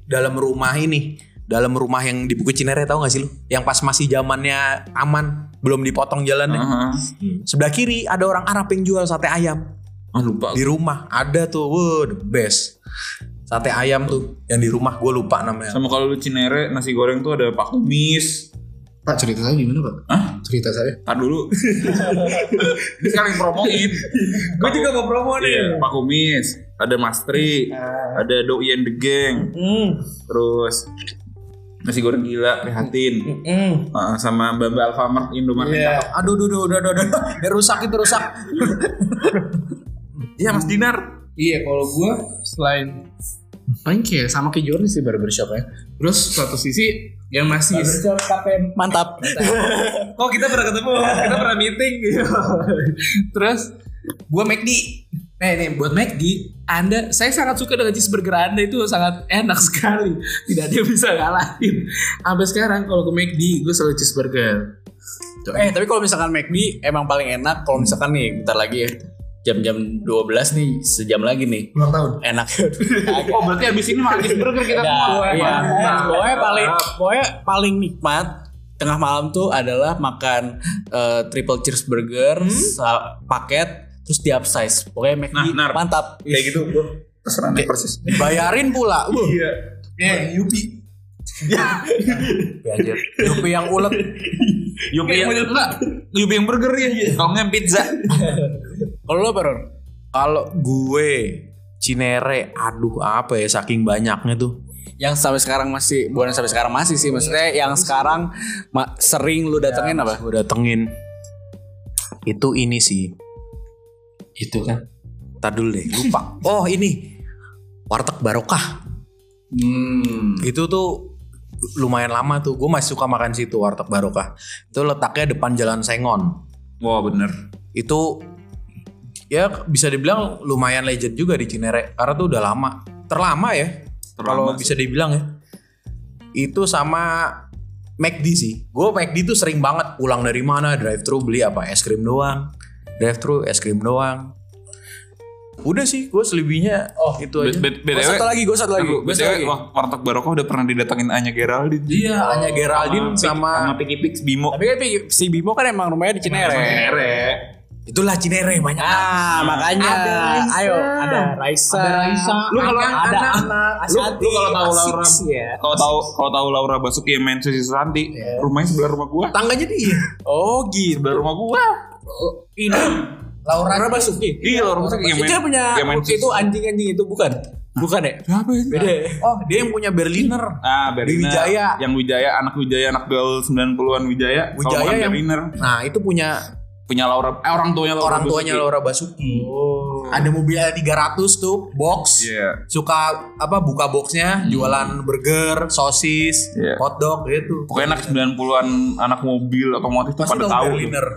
Speaker 4: dalam rumah ini. Dalam rumah yang di Bukit Cinere tahu gak sih lu? Yang pas masih zamannya aman, belum dipotong jalannya.
Speaker 5: Aha.
Speaker 4: Sebelah kiri ada orang Arab yang jual sate ayam
Speaker 5: Ah lupa.
Speaker 4: di rumah. Ada tuh, wow, the best. Sate ayam tuh yang di rumah gue lupa namanya.
Speaker 5: Sama kalau lu Cinere nasi goreng tuh ada pak kumis.
Speaker 7: Pak cerita saya gimana pak?
Speaker 5: Hah?
Speaker 7: Cerita saya.
Speaker 5: Tar dulu. Ini sekarang yang promoin.
Speaker 6: Gue juga mau promo nih. Ah.
Speaker 5: Iya, Pak Kumis, ada Mastri, ada Doi and the Gang,
Speaker 6: Hmm.
Speaker 5: terus nasi goreng gila prihatin,
Speaker 6: Hmm.
Speaker 5: Ah, sama Mbak Mbak Alfamart Indomaret.
Speaker 4: Aduh, aduh, aduh, aduh, aduh, aduh. Ya, rusak itu rusak.
Speaker 5: Iya Mas Dinar.
Speaker 6: Iya kalau gue selain
Speaker 7: Paling kayak sama kayak Jordi sih barbershop ya.
Speaker 6: terus satu sisi yang masih
Speaker 2: Mantap.
Speaker 6: Oh kita pernah ketemu, kita pernah meeting gitu. Terus gua McD. Nah ini buat McD, Anda, saya sangat suka dengan cheeseburger Anda itu sangat enak sekali. Tidak ada yang bisa ngalahin. Sampai sekarang kalau ke McD, gue selalu cheeseburger.
Speaker 2: eh, tapi kalau misalkan McD emang paling enak kalau misalkan nih bentar lagi ya. Jam-jam 12 nih, sejam lagi nih.
Speaker 6: Ulang tahun.
Speaker 2: Enak.
Speaker 5: Oh berarti abis ini makan burger kita.
Speaker 2: Nah, iya. Pokoknya paling pokoknya paling nikmat tengah malam tuh adalah makan eh, triple cheeseburger sa- paket terus di upsize. Pokoknya McD
Speaker 5: Nah, nar.
Speaker 2: mantap.
Speaker 5: Kayak gitu, Iya. bro. Terserah nih persis.
Speaker 4: Bayarin pula.
Speaker 2: Uh.
Speaker 4: Wuh.
Speaker 6: Eh, Yupi.
Speaker 4: Yupi yang ulet.
Speaker 5: Yupi yang Yupi yang burger ya. Kalau nggak pizza.
Speaker 2: Kalau lo apa, Ron?
Speaker 4: Kalau gue Cinere, aduh apa ya saking banyaknya tuh.
Speaker 2: Yang sampai sekarang masih bukan sampai sekarang masih sih maksudnya yang sekarang ma- sering lu datengin apa?
Speaker 4: Gue datengin itu ini sih. Itu kan. Tadul deh, lupa. oh ini warteg barokah.
Speaker 2: Hmm.
Speaker 4: Itu tuh lumayan lama tuh. Gue masih suka makan situ warteg barokah. Itu letaknya depan Jalan Sengon.
Speaker 5: Wah bener.
Speaker 4: itu ya bisa dibilang lumayan legend juga di Cinere karena tuh udah lama terlama ya kalau bisa dibilang ya itu sama McD sih gue McD tuh sering banget pulang dari mana drive thru beli apa es krim doang drive thru es krim doang udah sih gue selebihnya oh itu
Speaker 5: B-
Speaker 4: aja
Speaker 5: B-
Speaker 4: Gua
Speaker 5: BTW
Speaker 4: satu lagi gue satu lagi gua satu
Speaker 5: BTW,
Speaker 4: lagi
Speaker 5: wah, warteg Barokah udah pernah didatengin Anya Geraldine.
Speaker 4: Iya, Anya Geraldine sama-
Speaker 5: sama Piki Pix Bimo.
Speaker 2: Tapi kan Pi- si Bimo kan emang rumahnya di Cinere.
Speaker 5: Merek.
Speaker 4: itulah Cinere banyak
Speaker 2: Ah, makanya. Ayo, ada Raisa. Ada Raisa. Lu kalau ada anak, Ashanti,
Speaker 5: lu kalau tahu Laura-
Speaker 2: Asix ya.
Speaker 5: Kalau tahu kalau tahu Laura Basuki yang main Susi Santi, rumahnya sebelah rumah gua.
Speaker 4: tangganya dia
Speaker 2: Oh, gitu.
Speaker 5: Sebelah rumah gua.
Speaker 4: Oh.
Speaker 2: Ini Laura Basuki.
Speaker 5: Iya, Laura Basuki yang main.
Speaker 2: Itu dia punya
Speaker 5: yang main
Speaker 2: itu
Speaker 5: Susi-
Speaker 2: anjing-anjing itu bukan? Bukan ya? Beda. ya?
Speaker 4: oh dia yang punya Berliner
Speaker 5: Ah, Berliner.
Speaker 4: Wijaya.
Speaker 5: Yang Wijaya, anak Wijaya, anak gaul 90-an Wijaya. Kalau
Speaker 4: Wijaya
Speaker 5: bukan
Speaker 4: yang-
Speaker 5: Berliner.
Speaker 4: nah itu punya
Speaker 5: Punya Laura, eh, orang tuanya Laura
Speaker 4: orang tuanya
Speaker 5: Basuki. Oh.
Speaker 4: Laura Basuki. Ada mobil 300 tuh, box.
Speaker 5: Iya. Hmm.
Speaker 4: Suka apa buka boxnya, jualan burger, sosis,
Speaker 5: Iya.
Speaker 4: hotdog gitu.
Speaker 5: Pokoknya anak 90-an, anak mobil, otomotif tuh
Speaker 4: Pasti tahu
Speaker 5: pada tahu. gitu.
Speaker 4: Berliner.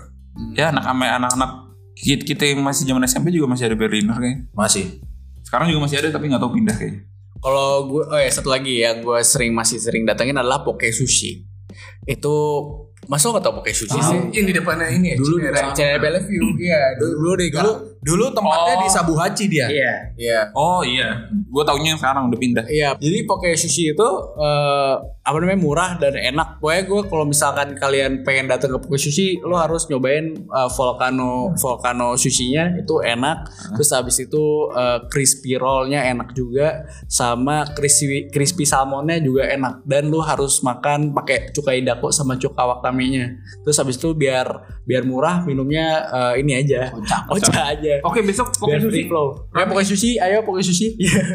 Speaker 5: Ya, anak ame anak-anak kita, kita yang masih zaman SMP juga masih ada Berliner kayaknya.
Speaker 4: Masih.
Speaker 5: Sekarang juga masih ada tapi nggak tahu pindah kayaknya.
Speaker 2: Kalau gue, oh ya satu lagi yang gue sering masih sering datengin adalah Poke Sushi. Itu masuk nggak tau Poke Sushi sih?
Speaker 6: Yang di depannya ini ya. Dulu
Speaker 2: Channel Bellevue. Iya, dulu, dulu deh. Dulu,
Speaker 4: Dulu tempatnya
Speaker 2: Oh.
Speaker 4: di Sabuhaci dia.
Speaker 2: iya. Iya.
Speaker 5: Oh iya, gue taunya yang sekarang udah pindah.
Speaker 2: Iya, jadi Poke Sushi itu eh, apa namanya murah dan enak. Pokoknya gue kalau misalkan kalian pengen datang ke Poke Sushi, lo harus nyobain eh, volcano volcano sushinya itu enak. Terus habis itu eh, crispy rollnya enak juga, sama crispy crispy salmonnya juga enak. Dan lo harus makan pakai cukai dako sama cuka wakame-nya. Terus habis itu biar biar murah minumnya eh, ini aja, ocha, aja.
Speaker 5: Oke besok
Speaker 2: Poke Sushi. Ya Poke Sushi, ayo Poke Sushi. Iya.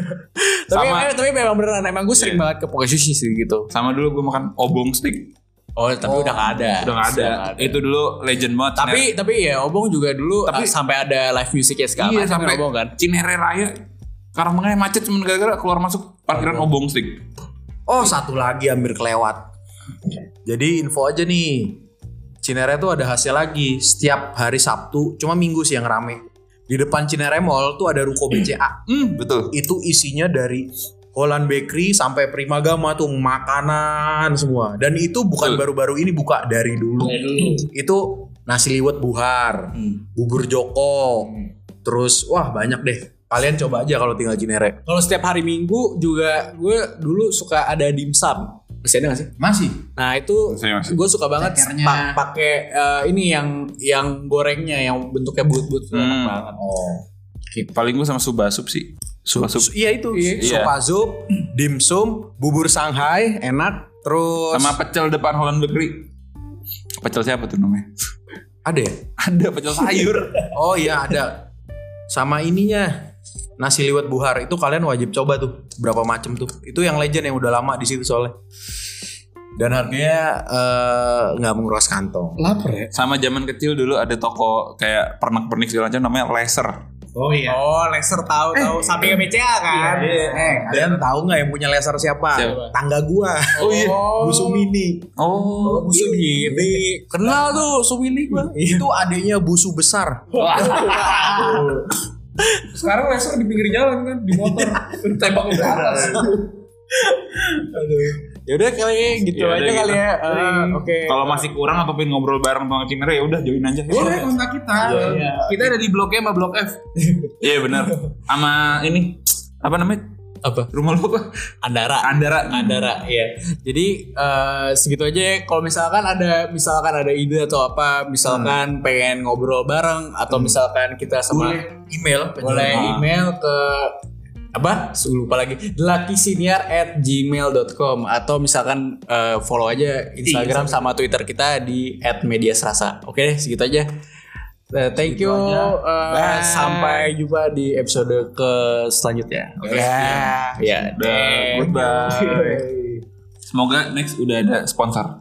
Speaker 2: tapi
Speaker 5: Sama.
Speaker 2: emang, tapi memang beneran emang gue sering banget ke Poke Sushi sih gitu.
Speaker 5: Sama dulu gue makan obong stick,
Speaker 2: Oh, tapi udah gak ada.
Speaker 5: udah nggak ada. Itu dulu legend banget.
Speaker 2: Tapi tapi ya Obong juga dulu ah,
Speaker 5: Tapi-
Speaker 2: sampai ada live music ya
Speaker 5: Cinere.
Speaker 2: sekarang.
Speaker 5: iya sampai
Speaker 2: Obong kan.
Speaker 5: Cinere Raya. Karena macet cuma gara-gara keluar masuk parkiran obong stick.
Speaker 4: Oh, satu lagi hampir kelewat. Jadi info aja nih. Cinere tuh ada hasil lagi setiap hari Sabtu, cuma Minggu sih yang rame. Di depan Cinere Mall tuh ada ruko BCA.
Speaker 5: Hmm betul.
Speaker 4: itu isinya dari Holland Bakery sampai Primagama tuh makanan semua. Dan itu bukan
Speaker 5: Betul.
Speaker 4: baru-baru ini buka dari dulu. Itu nasi liwet buhar,
Speaker 2: Hmm.
Speaker 4: bubur joko, terus wah banyak deh. Kalian coba aja kalau tinggal Cinere.
Speaker 2: Kalau setiap hari Minggu juga gue dulu suka ada dimsum. Masih ada gak sih?
Speaker 4: Masih.
Speaker 2: Nah itu
Speaker 5: Saya masih.
Speaker 2: gue suka banget pa- pakai eh, ini yang yang gorengnya yang bentuknya bulat-bulat
Speaker 5: Hmm.
Speaker 2: enak banget.
Speaker 4: Oh.
Speaker 5: Paling gue sama subasup sih. Subasup
Speaker 4: Iya itu.
Speaker 5: Iya.
Speaker 4: Supa sup, dimsum, bubur Shanghai enak. Terus
Speaker 5: sama pecel depan Holland Bakery. Pecel siapa tuh namanya?
Speaker 4: ada ya?
Speaker 5: Ada pecel sayur.
Speaker 4: Oh iya ada. Sama ininya nasi liwet buhar itu kalian wajib coba tuh berapa macam tuh itu yang legend yang udah lama di situ soalnya dan harganya eh, nggak menguras kantong
Speaker 7: Lapar ya?
Speaker 5: sama zaman kecil dulu ada toko kayak pernak-pernik segala macam namanya laser.
Speaker 7: Oh iya.
Speaker 2: Oh, Lester tahu tahu samping ke BCA kan.
Speaker 4: eh kalian tahu nggak yang punya laser siapa
Speaker 5: Siapa?
Speaker 4: tangga gua
Speaker 2: Oh iya.
Speaker 4: Busu Mini
Speaker 5: Oh,
Speaker 2: Busu Mini. Kenal tuh Suwili gue.
Speaker 4: itu adiknya busu besar
Speaker 6: Sekarang laser di pinggir jalan kan di motor. Tembak ke atas. Ya
Speaker 2: Yaudah kali gitu
Speaker 5: Yaudah
Speaker 2: aja kali
Speaker 5: gitu.
Speaker 2: ya. Eh, Oke.
Speaker 4: Iya.
Speaker 5: Kalau masih kurang atau pengen ngobrol bareng sama Cimere ya udah join aja.
Speaker 4: Iya.
Speaker 6: Boleh kontak kita. Kita ada di Blok E sama Blok F.
Speaker 5: Iya benar. Sama ini apa namanya?
Speaker 2: Apa?
Speaker 5: Rumah lu apa?
Speaker 2: Andara.
Speaker 5: Andara.
Speaker 2: Andara ya. Jadi eh, segitu aja ya. kalau misalkan ada misalkan ada ide atau apa misalkan pengen ngobrol bareng atau misalkan kita sama
Speaker 4: email
Speaker 2: boleh
Speaker 5: Ah.
Speaker 2: email ke apa lupa lagi lakisiniar at gmail.com atau misalkan eh, follow aja Iya, Instagram sama Twitter kita di at media serasa oke deh, segitu aja Eh, thank you Eh, sampai jumpa di episode ke selanjutnya oke ya
Speaker 5: Udah, goodbye. Semoga next udah ada sponsor.